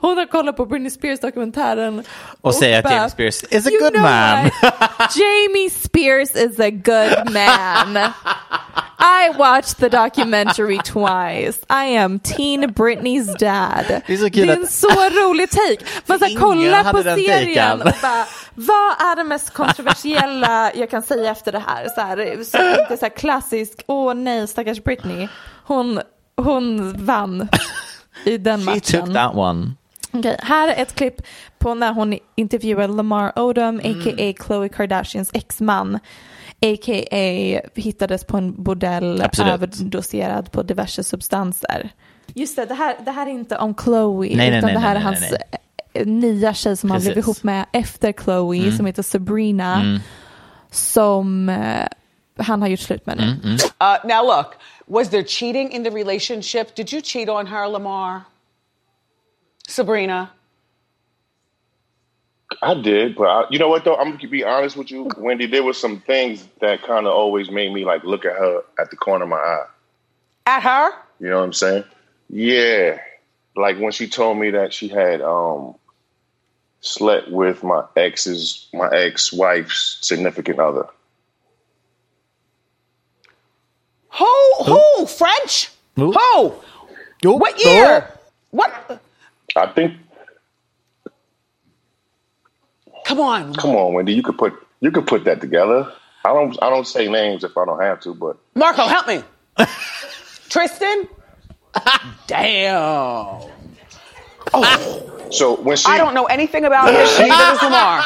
Speaker 5: Hon har kollat på Britney Spears dokumentären
Speaker 4: och säger att
Speaker 5: bara,
Speaker 4: Jamie Spears is a
Speaker 5: "You
Speaker 4: good
Speaker 5: know
Speaker 4: man. <laughs>
Speaker 5: what? Jamie Spears is a good man. I watched the documentary twice. I am teen Britneys dad.
Speaker 4: Det är så kul
Speaker 5: Det är en
Speaker 4: att-
Speaker 5: så rolig take. Man ska
Speaker 4: Ingen
Speaker 5: kolla
Speaker 4: hade
Speaker 5: på
Speaker 4: den
Speaker 5: serien
Speaker 4: taken.
Speaker 5: och bara, vad är det mest kontroversiella jag kan säga efter det här? Så här, så inte så här klassisk, åh nej stackars Britney. Hon, hon vann i den
Speaker 4: She took
Speaker 5: matchen.
Speaker 4: that one.
Speaker 5: Okej, här är ett klipp på när hon intervjuar Lamar Odom,
Speaker 4: Mm.
Speaker 5: a.k.a. Khloe Kardashians exman, a.k.a. hittades på en bordell
Speaker 4: Absolut.
Speaker 5: överdoserad på diverse substanser. Just det, det här, det här är inte om Khloe,
Speaker 4: nej,
Speaker 5: utan
Speaker 4: nej,
Speaker 5: det här
Speaker 4: nej,
Speaker 5: är hans
Speaker 4: nej,
Speaker 5: eh, nya tjej som han blev
Speaker 4: Precis.
Speaker 5: ihop med efter Khloe, som heter Sabrina, som eh, han har gjort slut med nu.
Speaker 6: Uh, now, look, was there cheating in the relationship? Did you cheat on her, Lamar? Sabrina?
Speaker 7: I did, but I, you know what though? I'm gonna be honest with you, Wendy. There was some things that kind of always made me like look at her at the corner of my eye.
Speaker 6: At her?
Speaker 7: You know what I'm saying? Yeah. Like when she told me that she had um slept with my ex's my ex wife's significant other.
Speaker 6: Who? Who? French? Who? What year? What?
Speaker 7: I think.
Speaker 6: Come on.
Speaker 7: Come on, Wendy. You could put you could put that together. I don't I don't say names if I don't have to, but
Speaker 6: Marco, help me. <laughs> Tristan? Damn.
Speaker 7: Oh. so when she
Speaker 6: I don't know anything about this. Neither does Lamar.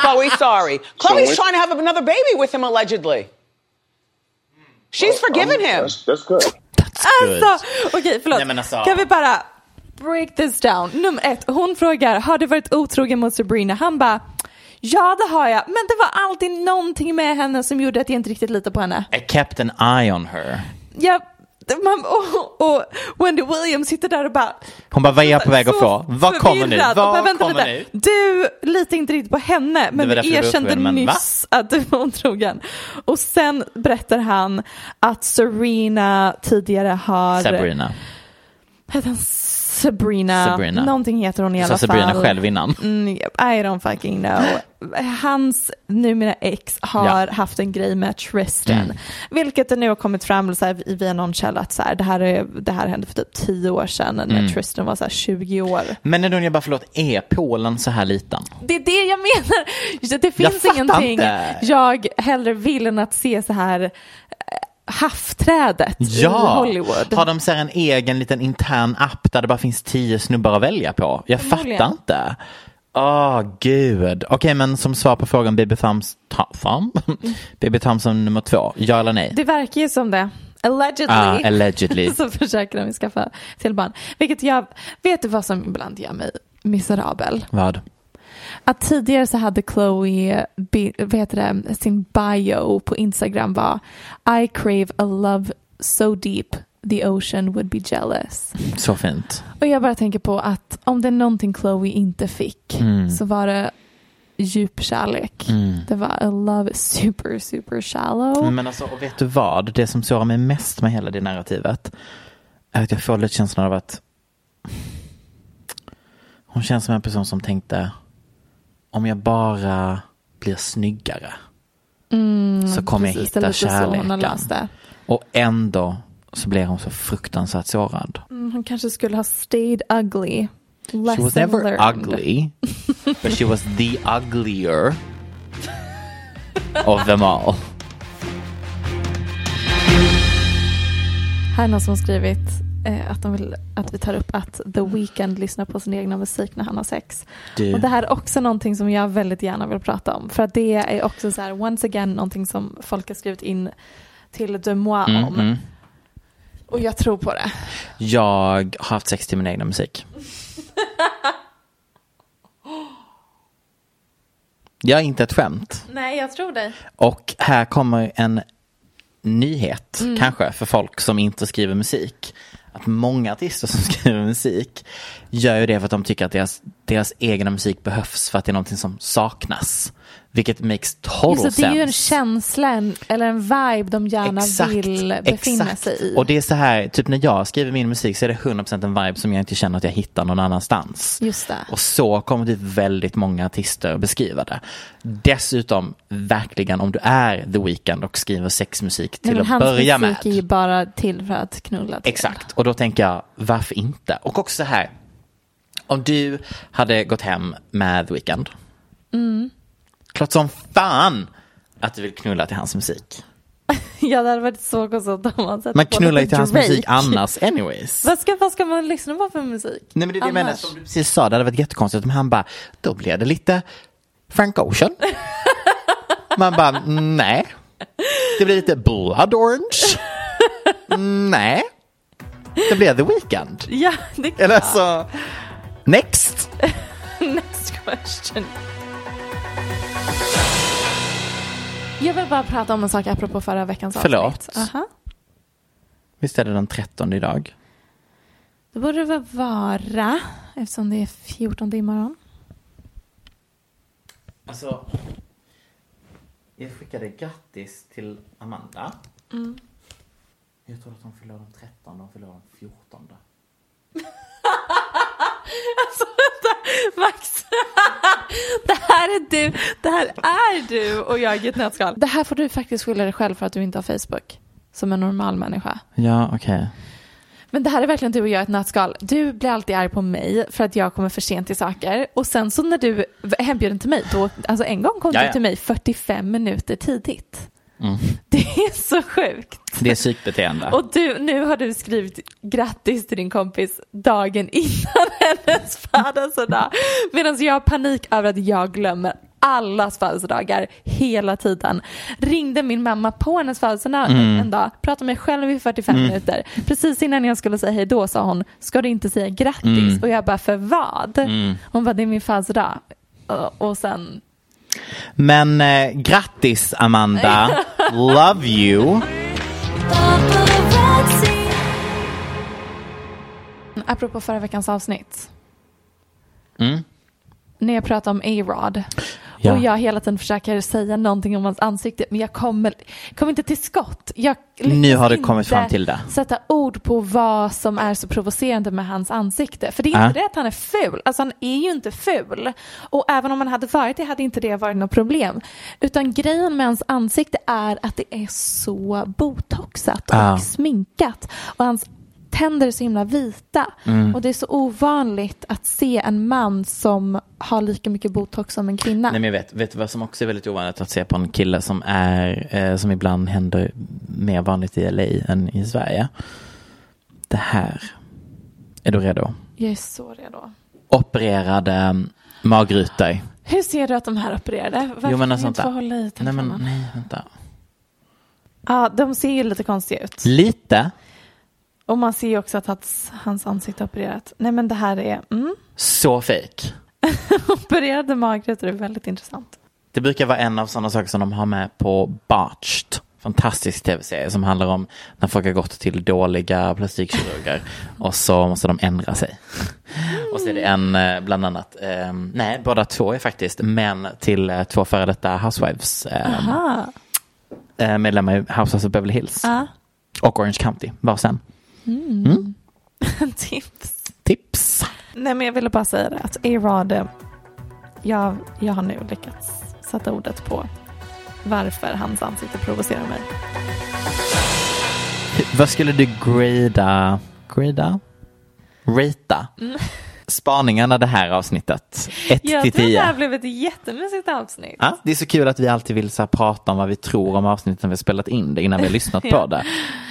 Speaker 6: Chloe, sorry. Chloe's
Speaker 7: what-
Speaker 6: trying to have another baby with him, allegedly. She's forgiven him.
Speaker 7: Oh, That's, that's good.
Speaker 5: Alltså, okej förlåt.
Speaker 4: Nej, men alltså.
Speaker 5: Kan vi bara break this down. Nummer ett, hon frågar har du varit otrogen mot Sabrina? Han bara ja det har jag men det var alltid någonting med henne som gjorde att jag inte riktigt litar på henne.
Speaker 4: I kept an eye on her.
Speaker 5: Jag,
Speaker 3: man, och, och Wendy Williams sitter där och bara
Speaker 4: Hon bara, vad är jag på väg att
Speaker 3: så
Speaker 4: få? Vad kommer nu?
Speaker 3: förvirrad och bara,
Speaker 4: Vad
Speaker 3: "Vänta
Speaker 4: kommer nu?
Speaker 3: lite. Du litar inte riktigt på henne men
Speaker 4: var
Speaker 3: du
Speaker 4: därför du var
Speaker 3: erkände
Speaker 4: upprörd, men
Speaker 3: nyss att du var otrogen. Och sen berättar han att Serena tidigare har
Speaker 4: Sabrina.
Speaker 3: Heter hon Sabrina.
Speaker 4: Sabrina.
Speaker 3: Någonting heter hon i
Speaker 4: Du
Speaker 3: alla
Speaker 4: sa Sabrina
Speaker 3: fall.
Speaker 4: själv innan.
Speaker 3: Mm, yep, I don't fucking know. Hans numera ex har
Speaker 4: Ja.
Speaker 3: haft en grej med Tristan.
Speaker 4: Mm.
Speaker 3: Vilket det nu har kommit fram så här, via någon källa att så här, det, här är, det här hände för typ 10 år sedan när
Speaker 4: Mm.
Speaker 3: Tristan var så här 20 år.
Speaker 4: Men nu jag bara, förlåt, är Polen så här liten?
Speaker 3: Det är det jag menar. Just att Det
Speaker 4: Jag
Speaker 3: finns
Speaker 4: fattar
Speaker 3: ingenting
Speaker 4: inte.
Speaker 3: jag hellre vill än att se så här eh, havfträdet i Hollywood.
Speaker 4: Har de så här en egen liten intern app där det bara finns tio snubbar att välja på? Jag
Speaker 3: Förmodligen.
Speaker 4: fattar inte. Åh gud. Okej men som svar på frågan Bibi Thams, ta, Tham? <laughs> Bibi Thamson nummer två, ja eller nej?
Speaker 3: Det verkar ju som det. Allegedly.
Speaker 4: Ah, allegedly.
Speaker 3: <laughs> så försöker de skaffa till barn. Vilket jag, vet du vad som ibland gör mig miserabel?
Speaker 4: Vad?
Speaker 3: Att tidigare så hade Chloe, bi- vad heter det, sin bio på Instagram var I crave a love so deep the ocean would be jealous.
Speaker 4: Så fint.
Speaker 3: Och jag bara tänker på att om det är någonting Chloe inte fick
Speaker 4: Mm.
Speaker 3: så var det djup kärlek.
Speaker 4: Mm.
Speaker 3: Det var a love super super shallow.
Speaker 4: Men alltså, och vet du vad? Det som sårar mig mest med hela det narrativet är att jag får lite känslan av att hon känns som en person som tänkte om jag bara blir snyggare så kommer
Speaker 3: Mm, Precis, det är
Speaker 4: jag hitta
Speaker 3: lite så hon har
Speaker 4: kärleken.
Speaker 3: löst det.
Speaker 4: Och ändå så blir hon så fruktansvärt sårad.
Speaker 3: Mm, Hon kanske skulle ha stayed ugly.
Speaker 4: She was
Speaker 3: Lesson
Speaker 4: never
Speaker 3: learned.
Speaker 4: ugly, but she was the
Speaker 3: <laughs>
Speaker 4: uglier of them all.
Speaker 3: Här är någon som har skrivit eh, att de vill att vi tar upp att The Weeknd lyssnar på sin egna musik när han har sex.
Speaker 4: Du.
Speaker 3: Och det här är också någonting som jag väldigt gärna vill prata om. För att det är också så här, once again, någonting som folk har skrivit in till Demois om.
Speaker 4: Mm.
Speaker 3: Och jag tror på det.
Speaker 4: Jag har haft sex till min egna musik. Jag är inte ett skämt.
Speaker 3: Nej, jag tror dig.
Speaker 4: Och här kommer en nyhet
Speaker 3: Mm.
Speaker 4: kanske för folk som inte skriver musik. Att många artister som <laughs> skriver musik gör ju det för att de tycker att deras, deras egna musik behövs för att det är någonting som saknas. Vilket makes total
Speaker 3: Just det, det är ju en
Speaker 4: sense.
Speaker 3: känsla en, eller en vibe de gärna vill befinna
Speaker 4: exakt.
Speaker 3: sig i.
Speaker 4: Och det är så här, typ när jag skriver min musik så är det 100% en vibe som jag inte känner att jag hittar någon annanstans.
Speaker 3: Just det.
Speaker 4: Och så kommer typ väldigt många artister beskriva det. Dessutom, verkligen om du är The Weeknd och skriver sexmusik till
Speaker 3: Nej, men
Speaker 4: att börja med.
Speaker 3: Hans musik är ju bara till för att knulla till.
Speaker 4: Exakt, och då tänker jag varför inte? Och också så här, om du hade gått hem med The Weeknd.
Speaker 3: Mm.
Speaker 4: Klart som fan att du vill knulla till hans musik.
Speaker 3: Ja, det <laughs> hade varit så konstigt om man sätter
Speaker 4: Man
Speaker 3: på
Speaker 4: knullar ju
Speaker 3: lite
Speaker 4: till hans
Speaker 3: Drake.
Speaker 4: musik annars anyways.
Speaker 3: Vad ska, vad ska man lyssna på för musik?
Speaker 4: Nej men det är det jag menar,
Speaker 3: Annars?
Speaker 4: som du precis sa, det hade varit jättekonstigt om han bara, då blev det lite
Speaker 3: <laughs>
Speaker 4: Frank Ocean. Man bara, nej. Det blir lite Blood Orange. Nej. Det blir The Weeknd.
Speaker 3: Ja, <laughs> det kan
Speaker 4: Eller så, next.
Speaker 3: Next question. Jag vill bara prata om en sak apropå förra veckans avsnitt.
Speaker 4: Förlåt.
Speaker 3: Aha.
Speaker 4: Visst är det den 13 idag?
Speaker 3: Det borde det väl vara, eftersom det är 14 imorgon.
Speaker 4: Alltså, jag skickade grattis till Amanda.
Speaker 3: Mm.
Speaker 4: Jag tror att hon förlorar den 13, hon förlorar den 14.
Speaker 3: Max, <laughs> det här är du, det här är du och jag i ett nötskal. Det här får du faktiskt skylla dig själv för att du inte har Facebook, som en normal människa.
Speaker 4: Ja, okej.
Speaker 3: Men det här är verkligen du och jag i ett nötskal. Du blir alltid arg på mig för att jag kommer för sent till saker. Och sen så när du är hembjuden till mig, då, alltså en gång kom
Speaker 4: Jaja.
Speaker 3: du till mig 45 minuter tidigt. Det är så sjukt.
Speaker 4: Det är psykbeteende.
Speaker 3: Och du, nu har du skrivit grattis till din kompis dagen innan <laughs> hennes födelsedag. Medan jag har panik över att jag glömmer allas födelsedagar hela tiden. Ringde min mamma på hennes födelsedag en dag, pratade med mig själv i 45 minuter. Precis innan jag skulle säga hej då sa hon, ska du inte säga grattis? Och jag bara, för vad? Hon bara, det är min födelsedag. Och- Och sen,
Speaker 4: Men eh, grattis Amanda, love you.
Speaker 1: Paparazzi.
Speaker 3: Mm, apropå förra veckans avsnitt.
Speaker 4: Mm.
Speaker 3: När jag pratade om A-Rod.
Speaker 4: Ja.
Speaker 3: Och jag hela tiden försöker säga någonting om hans ansikte. Men jag kommer, kommer inte till skott. Jag lyckas
Speaker 4: Nu har du
Speaker 3: inte
Speaker 4: kommit fram till det.
Speaker 3: sätta ord på vad som är så provocerande med hans ansikte. För det är inte
Speaker 4: Äh.
Speaker 3: det att han är ful. Alltså han är ju inte ful. Och även om han hade varit det hade inte det varit något problem. Utan grejen med hans ansikte är att det är så botoxat och
Speaker 4: Ja.
Speaker 3: sminkat. Och hans tänder är så himla vita.
Speaker 4: Mm.
Speaker 3: Och det är så ovanligt att se en man som har lika mycket botox som en kvinna.
Speaker 4: Nej men jag vet, vet du vad som också är väldigt ovanligt att se på en kille som är, eh, som ibland händer mer vanligt i LA än i Sverige. Det här. Är du redo?
Speaker 3: Jag är så redo.
Speaker 4: Opererade mm, magrutor.
Speaker 3: Hur ser du att de här opererade? Varför
Speaker 4: Jo
Speaker 3: kan
Speaker 4: men
Speaker 3: vi
Speaker 4: alltså
Speaker 3: inte
Speaker 4: vänta.
Speaker 3: få hålla i
Speaker 4: nej men
Speaker 3: telefonen?
Speaker 4: nej vänta.
Speaker 3: Ja, de ser ju lite konstiga ut.
Speaker 4: Lite.
Speaker 3: Och man ser ju också att hans, hans ansikte är opererat. Nej men det här är, mm. <laughs>
Speaker 4: Så fake.
Speaker 3: Opererade magrutor är väldigt intressant.
Speaker 4: Det brukar vara en av sådana saker som de har med på Botched. Fantastisk tv-serie som handlar om när folk har gått till dåliga plastikkirurger och så måste de ändra sig. Och så är det en, eh, bland annat, eh, nej båda två är faktiskt män till eh, två före detta Housewives eh,
Speaker 3: Ah,
Speaker 4: eh, medlemmar i Housewives of Beverly
Speaker 3: <laughs>
Speaker 4: Hills
Speaker 3: ah.
Speaker 4: och Orange County, var sen.
Speaker 3: Tips.
Speaker 4: Tips!
Speaker 3: Nej men jag ville bara säga det att A-Rod, eh, jag, jag har nu lyckats sätta ordet på varför hans ansikte provocerar mig.
Speaker 4: Vad skulle du grada? Grada? Rita? Spaningarna det här avsnittet. 1 till
Speaker 3: Mm. Jag tror
Speaker 4: 10.
Speaker 3: det här blev ett jättemysigt avsnitt.
Speaker 4: Ja, det är så kul att vi alltid vill så här, prata om vad vi tror om avsnittet när vi har spelat in det
Speaker 3: <laughs>
Speaker 4: innan vi har lyssnat på det.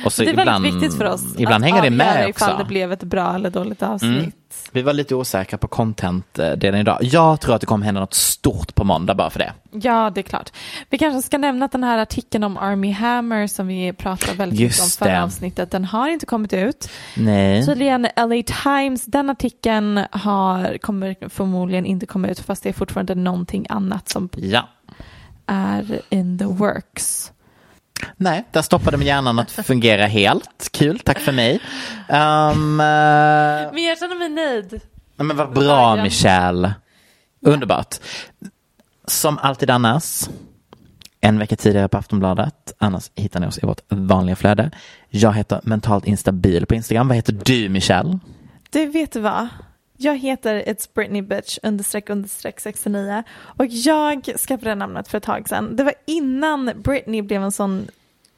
Speaker 4: Och så
Speaker 3: det är
Speaker 4: ibland,
Speaker 3: väldigt viktigt för oss
Speaker 4: Ibland
Speaker 3: att
Speaker 4: hänger det
Speaker 3: avgöra
Speaker 4: med
Speaker 3: ifall
Speaker 4: också. Mm.
Speaker 3: det blev ett bra eller dåligt avsnitt.
Speaker 4: Vi var lite osäkra på content-delen idag. Jag tror att det kommer hända något stort på måndag bara för det.
Speaker 3: Ja, det är klart. Vi kanske ska nämna att den här artikeln om Army Hammer som vi pratade väldigt mycket om
Speaker 4: Just
Speaker 3: förra
Speaker 4: det.
Speaker 3: avsnittet, den har inte kommit ut.
Speaker 4: Nej.
Speaker 3: Tydligen LA Times, den artikeln har, kommer förmodligen inte komma ut fast det är fortfarande någonting annat som
Speaker 4: Ja.
Speaker 3: är in the works.
Speaker 4: Nej, där stoppade min hjärnan att fungera helt. Kul, tack för mig. Ehm, eh,
Speaker 3: Men jag känner mig nöjd.
Speaker 4: Nej, Men vad bra Michelle. Underbart. Som alltid annars. En vecka tidigare på Aftonbladet. Annars hittar ni oss i vårt vanliga flöde. Jag heter mentalt instabil på Instagram. Vad heter du Michelle?
Speaker 3: Du vet du vad? Jag heter It's Britney Bitch understreck understreck 69 och jag skaffade det namnet för ett tag sedan. Det var innan Britney blev en sån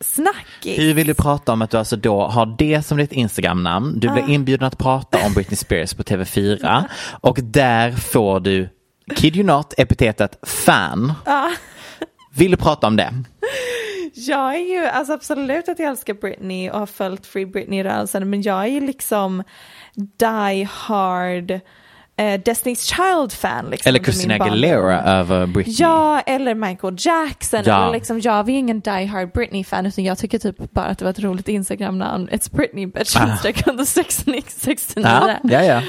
Speaker 3: snackis.
Speaker 4: Hur vill du prata om att du alltså då har det som ditt Instagram-namn. Du blir inbjuden att prata om Britney Spears på TV4. Och där får du, kid you not, epitetet fan. Vill du prata om det?
Speaker 3: Jag är ju, alltså absolut att jag älskar Britney och har följt Free Britney-rörelsen men jag är ju liksom die hard eh, Destiny's Child-fan. Liksom, under
Speaker 4: Eller
Speaker 3: min
Speaker 4: Christina
Speaker 3: barndom.
Speaker 4: Aguilera över Britney?
Speaker 3: Ja, eller Michael Jackson.
Speaker 4: Ja.
Speaker 3: Eller liksom, jag var ju ingen die hard Britney-fan utan jag tycker typ bara att det var ett roligt Instagram-namn. It's Britney bitch, understreck under 69.
Speaker 4: Ah. Ja, ja, ja.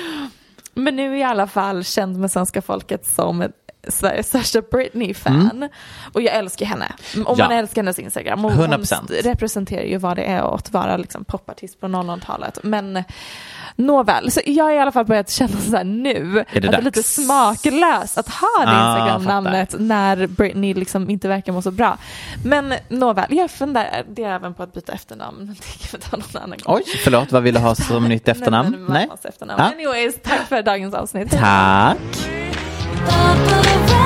Speaker 3: Men nu är jag i alla fall känd med svenska folket som ett Sveriges största Britney-fan. Och jag älskar henne. Och man
Speaker 4: Mm. Ja.
Speaker 3: älskar hennes Instagram. Och
Speaker 4: 100%.
Speaker 3: Hon representerar ju vad det är att vara liksom popartist på 00-talet. Men nåväl, så jag har i alla fall börjat känna så här nu.
Speaker 4: Är det
Speaker 3: att det är
Speaker 4: dags?
Speaker 3: lite smaklöst att ha det
Speaker 4: Ah,
Speaker 3: Instagram-namnet när Britney liksom inte verkar må så bra. Men nåväl, jag funderar det är även på att byta efternamn. <laughs> Men det kan vi ta någon annan gång.
Speaker 4: Oj, förlåt, vad vill du ha som
Speaker 3: <laughs>
Speaker 4: nytt
Speaker 3: Nej,
Speaker 4: efternamn?
Speaker 3: men mammas efternamn.
Speaker 4: Ja.
Speaker 3: Anyways, tack för dagens avsnitt.
Speaker 4: Tack.